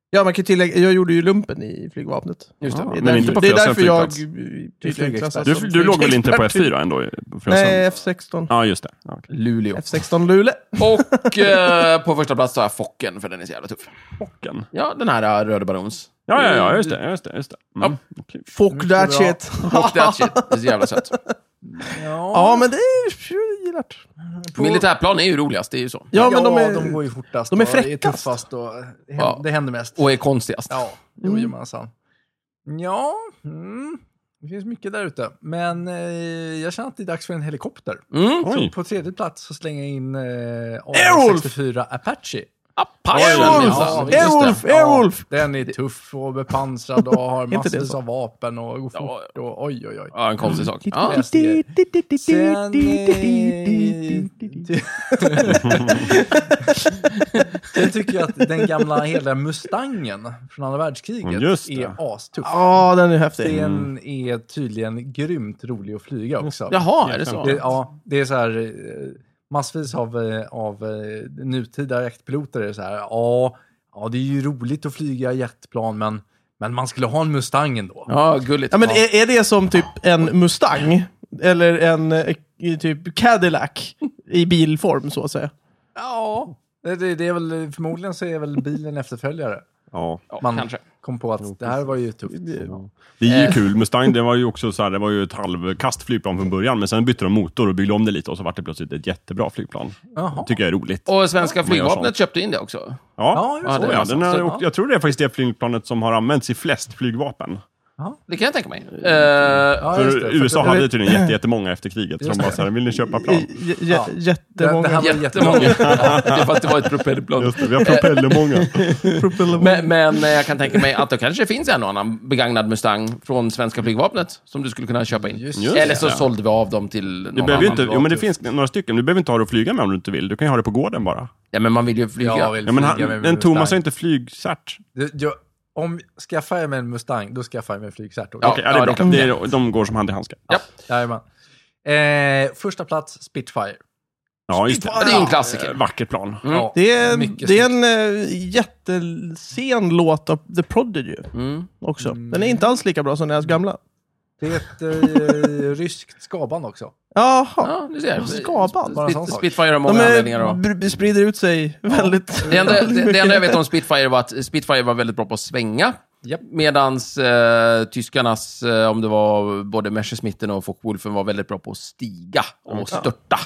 [SPEAKER 4] Ja, man kan tillägga, jag gjorde ju lumpen i flygvapnet.
[SPEAKER 1] Just det.
[SPEAKER 4] Det är
[SPEAKER 3] Men inte
[SPEAKER 4] därför,
[SPEAKER 3] på
[SPEAKER 4] det är
[SPEAKER 3] Frösön
[SPEAKER 4] därför jag
[SPEAKER 3] flygplats.
[SPEAKER 4] tydligen klassas
[SPEAKER 3] Du,
[SPEAKER 1] Alltså,
[SPEAKER 4] som
[SPEAKER 3] du låg väl inte på
[SPEAKER 4] flygexpert?
[SPEAKER 3] F4 ändå? För
[SPEAKER 4] Nej, F16.
[SPEAKER 3] Ja, just det. Ja, okej.
[SPEAKER 1] Luleå.
[SPEAKER 4] F16 Luleå.
[SPEAKER 1] Och eh, på första plats tar jag Focken, för den är så jävla tuff.
[SPEAKER 3] Bocken.
[SPEAKER 1] Ja, den här eh, Röde Barons.
[SPEAKER 3] Ja, ja, ja, just det. Just det, just det. Mm. Okej.
[SPEAKER 4] Fuck
[SPEAKER 2] bra.
[SPEAKER 4] that shit.
[SPEAKER 1] Och that shit. Det är så jävla sött.
[SPEAKER 4] Ja, men det är gillat.
[SPEAKER 1] Militärplan är ju roligast, det är ju så.
[SPEAKER 4] Ja, men de är...
[SPEAKER 2] de går ju fortast.
[SPEAKER 4] de är
[SPEAKER 2] och det
[SPEAKER 4] fräckast.
[SPEAKER 2] tuffast och det händer,
[SPEAKER 1] Ja.
[SPEAKER 2] det händer mest.
[SPEAKER 1] Och är konstigast.
[SPEAKER 2] Ja,
[SPEAKER 4] Mm.
[SPEAKER 2] jojomensan. Ja, mm, det finns mycket där ute. Men eh, jag känner att det är dags för en helikopter.
[SPEAKER 1] Mm.
[SPEAKER 3] Oj.
[SPEAKER 2] På tredje plats så slänger jag in eh,
[SPEAKER 4] Airwolf!
[SPEAKER 2] A64 Apache.
[SPEAKER 1] Apache!
[SPEAKER 4] Airwolf!
[SPEAKER 1] Ja, just det.
[SPEAKER 4] Airwolf! Airwolf!
[SPEAKER 2] Ja, den är tuff och bepansrad och
[SPEAKER 4] [laughs]
[SPEAKER 2] har
[SPEAKER 4] Inte det
[SPEAKER 2] massvis
[SPEAKER 4] så?
[SPEAKER 2] av vapen och går
[SPEAKER 1] Ja.
[SPEAKER 2] fort och oj, oj, oj.
[SPEAKER 1] Ja, en konstig sak. Ja.
[SPEAKER 2] Yes. Sen...
[SPEAKER 4] [laughs]
[SPEAKER 2] eh, Sen tycker jag att den gamla hela Mustangen från andra världskriget
[SPEAKER 3] Mm, Just det.
[SPEAKER 2] är astuff.
[SPEAKER 4] Ja, den är häftig.
[SPEAKER 2] Den är tydligen grymt rolig att flyga
[SPEAKER 3] Mm.
[SPEAKER 2] också.
[SPEAKER 1] Jaha, är det
[SPEAKER 2] Det,
[SPEAKER 1] så?
[SPEAKER 2] ja, det är så här eh, massvis av, eh, av eh, nutida jaktpiloter är så här, ja, ja, det är ju roligt att flyga jetplan, men, men man skulle ha en Mustang ändå.
[SPEAKER 1] Ja, gulligt.
[SPEAKER 4] Ja, men
[SPEAKER 1] Ja.
[SPEAKER 4] är, är det som typ en Mustang? Eller en eh, typ Cadillac i bilform, så att säga?
[SPEAKER 2] Ja. Det, det, det är väl, förmodligen så är väl bilen efterföljare.
[SPEAKER 3] Ja.
[SPEAKER 1] Ja,
[SPEAKER 2] man-
[SPEAKER 1] kanske.
[SPEAKER 2] kom på att det här var ju tufft.
[SPEAKER 3] Det är ju
[SPEAKER 1] Eh.
[SPEAKER 3] kul. Mustang det var ju också så här, det var ju ett halvkast flygplan från början, men sen bytte de motor och byggde om det lite och så var det plötsligt ett jättebra flygplan.
[SPEAKER 2] Jaha.
[SPEAKER 3] tycker jag är roligt.
[SPEAKER 1] Och svenska
[SPEAKER 3] gör
[SPEAKER 1] flygvapnet
[SPEAKER 3] sånt.
[SPEAKER 1] köpte in det också.
[SPEAKER 3] Ja,
[SPEAKER 2] Ja,
[SPEAKER 3] ja,
[SPEAKER 1] det är
[SPEAKER 3] ja,
[SPEAKER 1] så.
[SPEAKER 3] den är,
[SPEAKER 1] Så,
[SPEAKER 3] och,
[SPEAKER 1] ja.
[SPEAKER 3] jag tror det är faktiskt det flygplanet som har använts i flest flygvapen.
[SPEAKER 1] Det kan jag tänka mig. Eh,
[SPEAKER 2] Ja, just
[SPEAKER 3] För
[SPEAKER 2] det, för
[SPEAKER 3] USA
[SPEAKER 2] det-
[SPEAKER 3] hade tydligen jätte, jättemånga efter kriget, så
[SPEAKER 2] Just
[SPEAKER 3] de bara
[SPEAKER 2] det.
[SPEAKER 3] så här, vill ni köpa
[SPEAKER 2] [laughs]
[SPEAKER 3] plan?
[SPEAKER 4] J- j-
[SPEAKER 2] Ja. Det-
[SPEAKER 4] Jättemånga.
[SPEAKER 2] det här-
[SPEAKER 1] jättemånga. det är för att det var ett propellerplan.
[SPEAKER 3] Just det, vi har propellermånga.
[SPEAKER 1] Men, men eh, jag kan tänka mig att det kanske finns en och annan begagnad Mustang från svenska flygvapnet som du skulle kunna köpa in.
[SPEAKER 2] Just
[SPEAKER 3] Just
[SPEAKER 1] Eller så
[SPEAKER 3] det.
[SPEAKER 1] sålde vi av dem till någon
[SPEAKER 3] Du
[SPEAKER 1] annan.
[SPEAKER 3] behöver ju inte, jo, men [laughs] det
[SPEAKER 2] privat-
[SPEAKER 3] finns några stycken, du behöver inte ha det att flyga med om du inte vill. Du kan ju ha det på gården bara.
[SPEAKER 1] Ja, men man vill ju flyga.
[SPEAKER 2] Jag vill
[SPEAKER 3] Ja, men han,
[SPEAKER 2] flyga med
[SPEAKER 3] men Thomas har
[SPEAKER 2] Mustang.
[SPEAKER 3] inte flygcert.
[SPEAKER 2] Det- jag, Om skaffar jag mig en Mustang, då skaffar jag mig en flygcert.
[SPEAKER 1] Ja.
[SPEAKER 3] Okej, ja, det är
[SPEAKER 1] det är
[SPEAKER 3] bra.
[SPEAKER 1] klart.
[SPEAKER 3] Det är, de går som hand i handske.
[SPEAKER 1] Ja.
[SPEAKER 2] Jajamän. Eh, första plats, Spitfire.
[SPEAKER 3] Ja, just det.
[SPEAKER 1] Ja, det är ju en klassiker.
[SPEAKER 3] Eh, Vackert plan.
[SPEAKER 1] Mm.
[SPEAKER 2] Ja,
[SPEAKER 4] Det är,
[SPEAKER 2] mycket
[SPEAKER 4] det är
[SPEAKER 2] snyggt.
[SPEAKER 4] en eh, jättesen låt av The Prodigy
[SPEAKER 1] Mm.
[SPEAKER 4] också. Den är inte alls lika bra som deras gamla.
[SPEAKER 2] Det är ett eh, ryskt skaband också.
[SPEAKER 4] Jaha.
[SPEAKER 1] Ja, du ser.
[SPEAKER 4] Skaban,
[SPEAKER 2] bara en sån
[SPEAKER 1] Spit,
[SPEAKER 2] sak.
[SPEAKER 1] Spitfire har många
[SPEAKER 4] De
[SPEAKER 1] anledningar.
[SPEAKER 4] är,
[SPEAKER 1] Då.
[SPEAKER 4] b- b- sprider ut sig väldigt...
[SPEAKER 1] Det, enda, det, det enda jag vet om Spitfire var att Spitfire var väldigt bra på att svänga.
[SPEAKER 2] Japp.
[SPEAKER 1] Medan eh, tyskarnas, eh, om det var både Messerschmitten och Focke-Wulfen, var väldigt bra på att stiga och störta.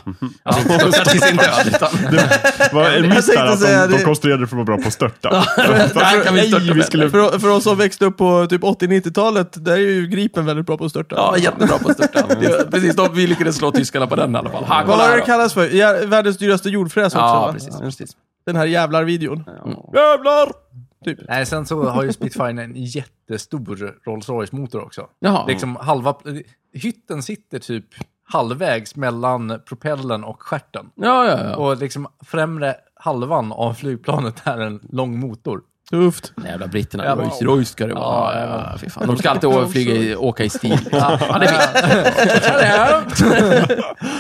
[SPEAKER 1] Alltså inte störta till sin död,
[SPEAKER 3] [laughs]
[SPEAKER 1] utan... [laughs]
[SPEAKER 3] Det var en miss
[SPEAKER 4] tänkte
[SPEAKER 3] där att
[SPEAKER 4] säga
[SPEAKER 3] de,
[SPEAKER 4] det-
[SPEAKER 3] de konstruerade det för att vara bra på att störta.
[SPEAKER 1] Det här kan vi störta
[SPEAKER 3] Nej, vi
[SPEAKER 1] med.
[SPEAKER 3] skulle...
[SPEAKER 4] För, för oss som växte upp på typ 80-90-talet, där är ju Gripen väldigt bra på att störta.
[SPEAKER 1] Ja, jättebra på att störta. Det- Precis, de, vi lyckades slå tyskarna på den i alla fall. Ha,
[SPEAKER 4] Vad
[SPEAKER 1] kolla
[SPEAKER 4] var det
[SPEAKER 1] här
[SPEAKER 4] det
[SPEAKER 1] då.
[SPEAKER 4] kallas för? Ja, världens dyraste jordfräs också
[SPEAKER 1] Ja,
[SPEAKER 4] va?
[SPEAKER 1] precis. precis.
[SPEAKER 4] Den här jävlar-videon.
[SPEAKER 3] Jävlar!
[SPEAKER 2] Nej, sen så har ju Spitfire en jättestor Rolls Royce-motor också.
[SPEAKER 1] Jaha.
[SPEAKER 2] Liksom halva, hytten sitter typ halvvägs mellan propellen och stjärten.
[SPEAKER 1] Ja, ja, ja.
[SPEAKER 2] Och liksom främre halvan av flygplanet är en lång motor.
[SPEAKER 4] Tufft.
[SPEAKER 1] De jävla britterna.
[SPEAKER 2] Ja,
[SPEAKER 1] Rolls Royce ska det vara.
[SPEAKER 2] Ja,
[SPEAKER 1] Ja,
[SPEAKER 2] ja,
[SPEAKER 1] ja, fy fan. De ska alltid å- flyga i, åka i stil. Ja, det
[SPEAKER 4] Ja,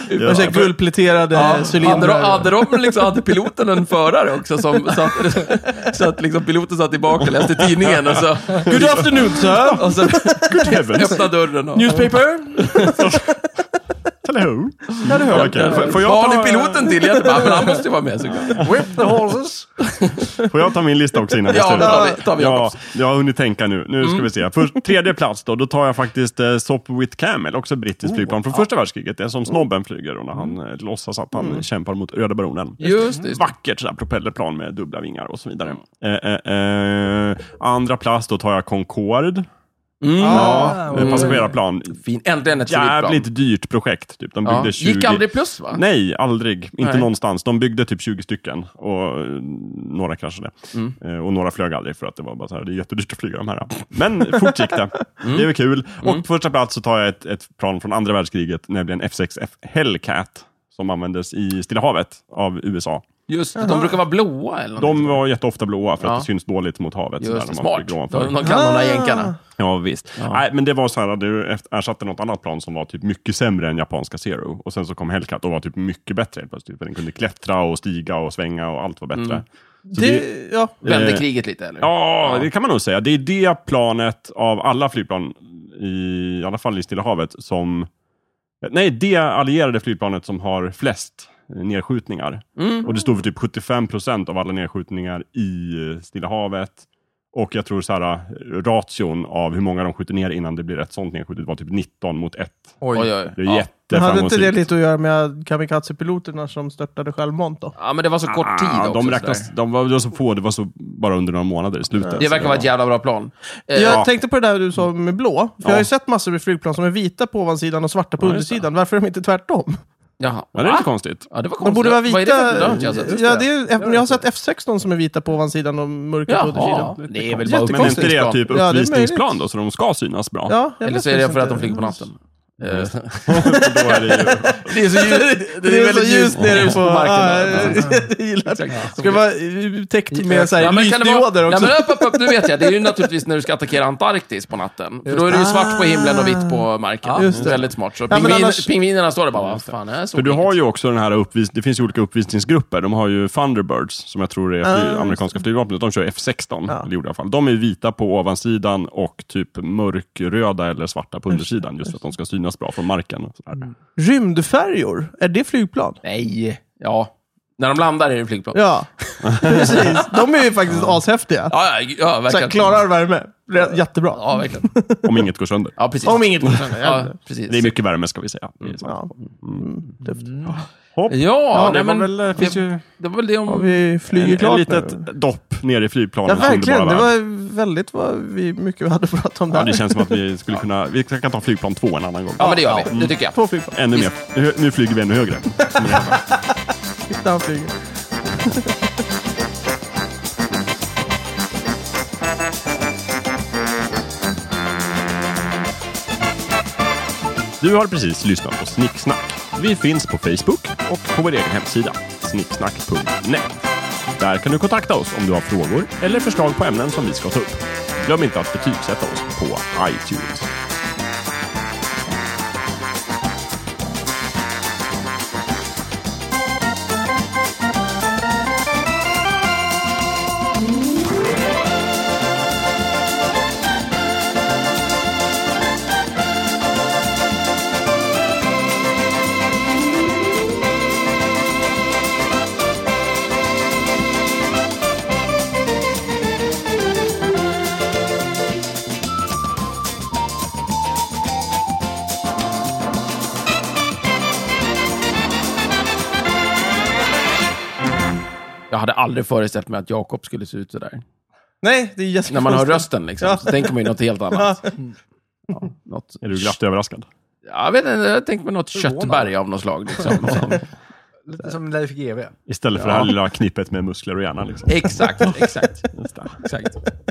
[SPEAKER 3] Ja, för-
[SPEAKER 4] guldpläterade
[SPEAKER 1] hade, de,
[SPEAKER 4] cylindrar.
[SPEAKER 1] hade, de liksom, hade piloten en förare också? Som, så, att, så att liksom piloten [laughs] satt tillbaka och läste tidningen och så,
[SPEAKER 4] Good afternoon sir!
[SPEAKER 1] och så
[SPEAKER 4] [laughs]
[SPEAKER 3] Good heavens.
[SPEAKER 1] öppnade dörren. Och,
[SPEAKER 4] Newspaper?
[SPEAKER 3] Hello.
[SPEAKER 4] Ja, det hör jag.
[SPEAKER 3] Okej, får- får jag
[SPEAKER 1] vad har
[SPEAKER 3] ta-
[SPEAKER 1] ni piloten till? Jag bara, men han måste ju vara med såklart.
[SPEAKER 2] Whip the horses!
[SPEAKER 3] Får jag ta min lista också innan
[SPEAKER 1] Ja,
[SPEAKER 3] jag
[SPEAKER 1] men tar vi- tar vi Mm.
[SPEAKER 3] ja,
[SPEAKER 1] Jakobs.
[SPEAKER 3] Jag har hunnit tänka nu. Nu ska vi se. Först, tredje plats då, då tar jag faktiskt eh, Sopwith Camel, också
[SPEAKER 1] Oh,
[SPEAKER 3] brittiskt flygplan från första världskriget. Det är som snobben flyger och när
[SPEAKER 1] Mm.
[SPEAKER 3] han eh, låtsas att han kämpar mot Röda Baronen.
[SPEAKER 1] Just det. just det.
[SPEAKER 3] Vackert sådär propellerplan med dubbla vingar och så vidare. Eh, eh, eh, andra plats, då tar jag Concorde.
[SPEAKER 1] Mm.
[SPEAKER 3] Ja,
[SPEAKER 2] okej.
[SPEAKER 3] eh, passagerarplan.
[SPEAKER 1] Fin. Äntligen ett solidt plan.
[SPEAKER 3] Jävligt dyrt projekt. Typ. De byggde
[SPEAKER 1] Ja.
[SPEAKER 3] 20...
[SPEAKER 1] Gick aldrig plus va?
[SPEAKER 3] Nej, aldrig. Inte
[SPEAKER 1] Nej.
[SPEAKER 3] någonstans. De byggde typ 20 stycken och eh, några kraschade.
[SPEAKER 1] Mm.
[SPEAKER 3] Eh, Och några flög aldrig för att det var bara så här, det är jättedyrt att flyga de här. Men [laughs] fort gick det.
[SPEAKER 1] Mm.
[SPEAKER 3] Det var kul. Och på första plats så tar jag ett, ett plan från andra världskriget, nämligen F6F Hellcat. Som användes i Stilla havet av USA.
[SPEAKER 1] Just det, de brukar vara blåa eller någonting.
[SPEAKER 3] De var jätteofta blåa för att
[SPEAKER 1] Mm. Ja.
[SPEAKER 3] det syns dåligt mot havet.
[SPEAKER 1] Just
[SPEAKER 3] sådär,
[SPEAKER 1] det,
[SPEAKER 3] när man
[SPEAKER 1] smart.
[SPEAKER 3] flyger ovanför.
[SPEAKER 1] De, de kan de där jänkarna.
[SPEAKER 3] Ja, visst. Nej, men det var så här, du ersatte något annat plan som var typ mycket sämre än japanska Zero. Och sen så kom Hellcat och var typ mycket bättre helt plötsligt. För den kunde klättra och stiga och svänga och allt var bättre. Så
[SPEAKER 4] Det,
[SPEAKER 3] det-
[SPEAKER 4] ja.
[SPEAKER 1] Vände
[SPEAKER 3] Eh,
[SPEAKER 1] kriget lite eller?
[SPEAKER 3] Ja, det kan man nog säga. Det är det planet av alla flygplan, i alla fall i Stilla havet, som... Nej, det allierade flygplanet som har flest eh, nedskjutningar.
[SPEAKER 1] Mm.
[SPEAKER 3] Och det stod för typ 75% av alla nedskjutningar i eh, Stilla havet. Och jag tror så här, eh, ration av hur många de skjuter ner innan det blir ett sånt nedskjutet var typ 19 mot 1.
[SPEAKER 2] Oj.
[SPEAKER 1] Oj, oj.
[SPEAKER 3] Det är
[SPEAKER 1] Ja.
[SPEAKER 4] Men hade
[SPEAKER 3] jätteframgångsrikt.
[SPEAKER 4] inte det lite att göra med kamikazepiloterna som störtade självmant då?
[SPEAKER 1] Ja, men det var så kort tid
[SPEAKER 3] Ah,
[SPEAKER 1] också.
[SPEAKER 3] de,
[SPEAKER 1] sådär.
[SPEAKER 3] räknas, de, var, de var så få, det var så bara under några månader i slutet.
[SPEAKER 1] Det
[SPEAKER 3] Så
[SPEAKER 1] verkar vara ett jävla bra plan. Eh,
[SPEAKER 4] Jag tänkte på det där du sa med blå. För jag har ju sett massor med flygplan som är vita på ovansidan och svarta på
[SPEAKER 3] Ja, just det.
[SPEAKER 4] undersidan. Varför är de inte tvärtom?
[SPEAKER 1] Jaha.
[SPEAKER 3] Ja, det är
[SPEAKER 1] Va?
[SPEAKER 3] inte konstigt.
[SPEAKER 1] Ja, det var konstigt.
[SPEAKER 4] De borde vara vita.
[SPEAKER 1] Vad är det för dumt jag har sett?
[SPEAKER 4] ja, det är, jag har sett F16 som är vita på ovansidan och mörka på
[SPEAKER 1] Jaha,
[SPEAKER 4] undersidan.
[SPEAKER 1] det är väl bara
[SPEAKER 3] Men är inte
[SPEAKER 1] uppvisningsplan.
[SPEAKER 3] det typ
[SPEAKER 4] Ja, det är möjligt.
[SPEAKER 3] uppvisningsplan då, så de ska synas bra?
[SPEAKER 4] Ja, jag
[SPEAKER 1] Eller
[SPEAKER 4] vet
[SPEAKER 1] så är det
[SPEAKER 4] faktiskt
[SPEAKER 1] för att de
[SPEAKER 4] inte.
[SPEAKER 1] flyger på natten. Eh,
[SPEAKER 3] Då är det ju...
[SPEAKER 1] Det är så ljust.
[SPEAKER 4] [laughs] Det är, så ljust nere på
[SPEAKER 1] marken.
[SPEAKER 4] marken. Jag gillar [laughs] det. Ska det vara eh, täckt med så här,
[SPEAKER 1] Ja, men kan det vara-
[SPEAKER 4] lysdioder
[SPEAKER 1] Ja,
[SPEAKER 4] också?
[SPEAKER 1] men upp, upp, upp, nu vet jag. Det är ju naturligtvis när du ska attackera Antarktis på natten. För då är det ju svart på himlen och vitt på marken.
[SPEAKER 2] Ah.
[SPEAKER 1] Just det. Väldigt smart. Så
[SPEAKER 4] men
[SPEAKER 1] pingvin,
[SPEAKER 4] annars-
[SPEAKER 1] pingvinerna står där bara, vad fan är så
[SPEAKER 3] För du har ju också den här uppvis... Det finns ju olika uppvisningsgrupper. De har ju Thunderbirds, som jag tror är
[SPEAKER 4] Ah,
[SPEAKER 3] fly...
[SPEAKER 4] just det.
[SPEAKER 3] amerikanska flygvapnet. De kör F16,
[SPEAKER 4] Ja.
[SPEAKER 3] eller gjorde i alla fall. De är vita på ovansidan och typ mörkröda eller svarta på undersidan, just för att de ska
[SPEAKER 4] Mm.
[SPEAKER 3] synas bra från marken. Och sådär.
[SPEAKER 4] Rymdfärjor, är det flygplan?
[SPEAKER 1] Nej. Ja. När de landar är det flygplan. Ja,
[SPEAKER 4] [laughs] Ja, precis. De är ju faktiskt ashäftiga.
[SPEAKER 1] ja, ja
[SPEAKER 4] Så
[SPEAKER 1] verkligen.
[SPEAKER 4] här, klarar värme. Re- Jättebra.
[SPEAKER 1] Ja, Mm. verkligen.
[SPEAKER 3] Om inget går
[SPEAKER 4] [laughs]
[SPEAKER 3] sönder.
[SPEAKER 1] Ja, precis.
[SPEAKER 4] Om inget går sönder.
[SPEAKER 1] Ja,
[SPEAKER 4] Ja.
[SPEAKER 1] precis.
[SPEAKER 3] Det är mycket värme ska vi säga. Det är så.
[SPEAKER 4] Ja. Mm. tufft.
[SPEAKER 3] Hopp.
[SPEAKER 1] Ja, ja
[SPEAKER 3] det
[SPEAKER 1] nej,
[SPEAKER 3] var
[SPEAKER 1] men,
[SPEAKER 3] väl, eh, finns ju
[SPEAKER 1] det var väl det
[SPEAKER 4] Har
[SPEAKER 1] om...
[SPEAKER 4] vi flyger
[SPEAKER 3] en, en
[SPEAKER 4] klart
[SPEAKER 3] litet
[SPEAKER 4] nu?
[SPEAKER 3] dopp ner i flygplanet.
[SPEAKER 4] Ja, verkligen. Det var väldigt vad vi, mycket vi hade pratat om
[SPEAKER 3] Ja,
[SPEAKER 4] där.
[SPEAKER 3] det känns som att vi skulle kunna... Vi kan ta flygplan två en annan gång. mm.
[SPEAKER 1] Ja, men det gör vi. Det tycker jag.
[SPEAKER 4] Två flygplan
[SPEAKER 3] Ännu mer. Nu, nu flyger vi ännu högre.
[SPEAKER 4] [laughs] när han flyger.
[SPEAKER 3] Du har precis lyssnat på Snicksnack. Vi finns på Facebook och på vår egen hemsida, snicksnack.net. Där kan du kontakta oss om du har frågor eller förslag på ämnen som vi ska ta upp. Glöm inte att betygsätta oss på iTunes.
[SPEAKER 1] Jag hade aldrig föreställt mig att Jakob skulle se ut sådär.
[SPEAKER 4] Nej, det är jättekonstigt.
[SPEAKER 1] När man hör rösten liksom, så tänker man ju något helt annat.
[SPEAKER 4] Ja.
[SPEAKER 1] Ja, något,
[SPEAKER 3] Är du glatt överraskad?
[SPEAKER 1] jag vet inte, jag tänker mig något
[SPEAKER 2] Förvånad.
[SPEAKER 1] köttberg av något slag. Liksom. Som-
[SPEAKER 2] Lite som Leif GW.
[SPEAKER 3] Istället för det här lilla knippet med muskler och hjärna. Liksom.
[SPEAKER 1] exakt, exakt.
[SPEAKER 3] Just det.
[SPEAKER 1] exakt.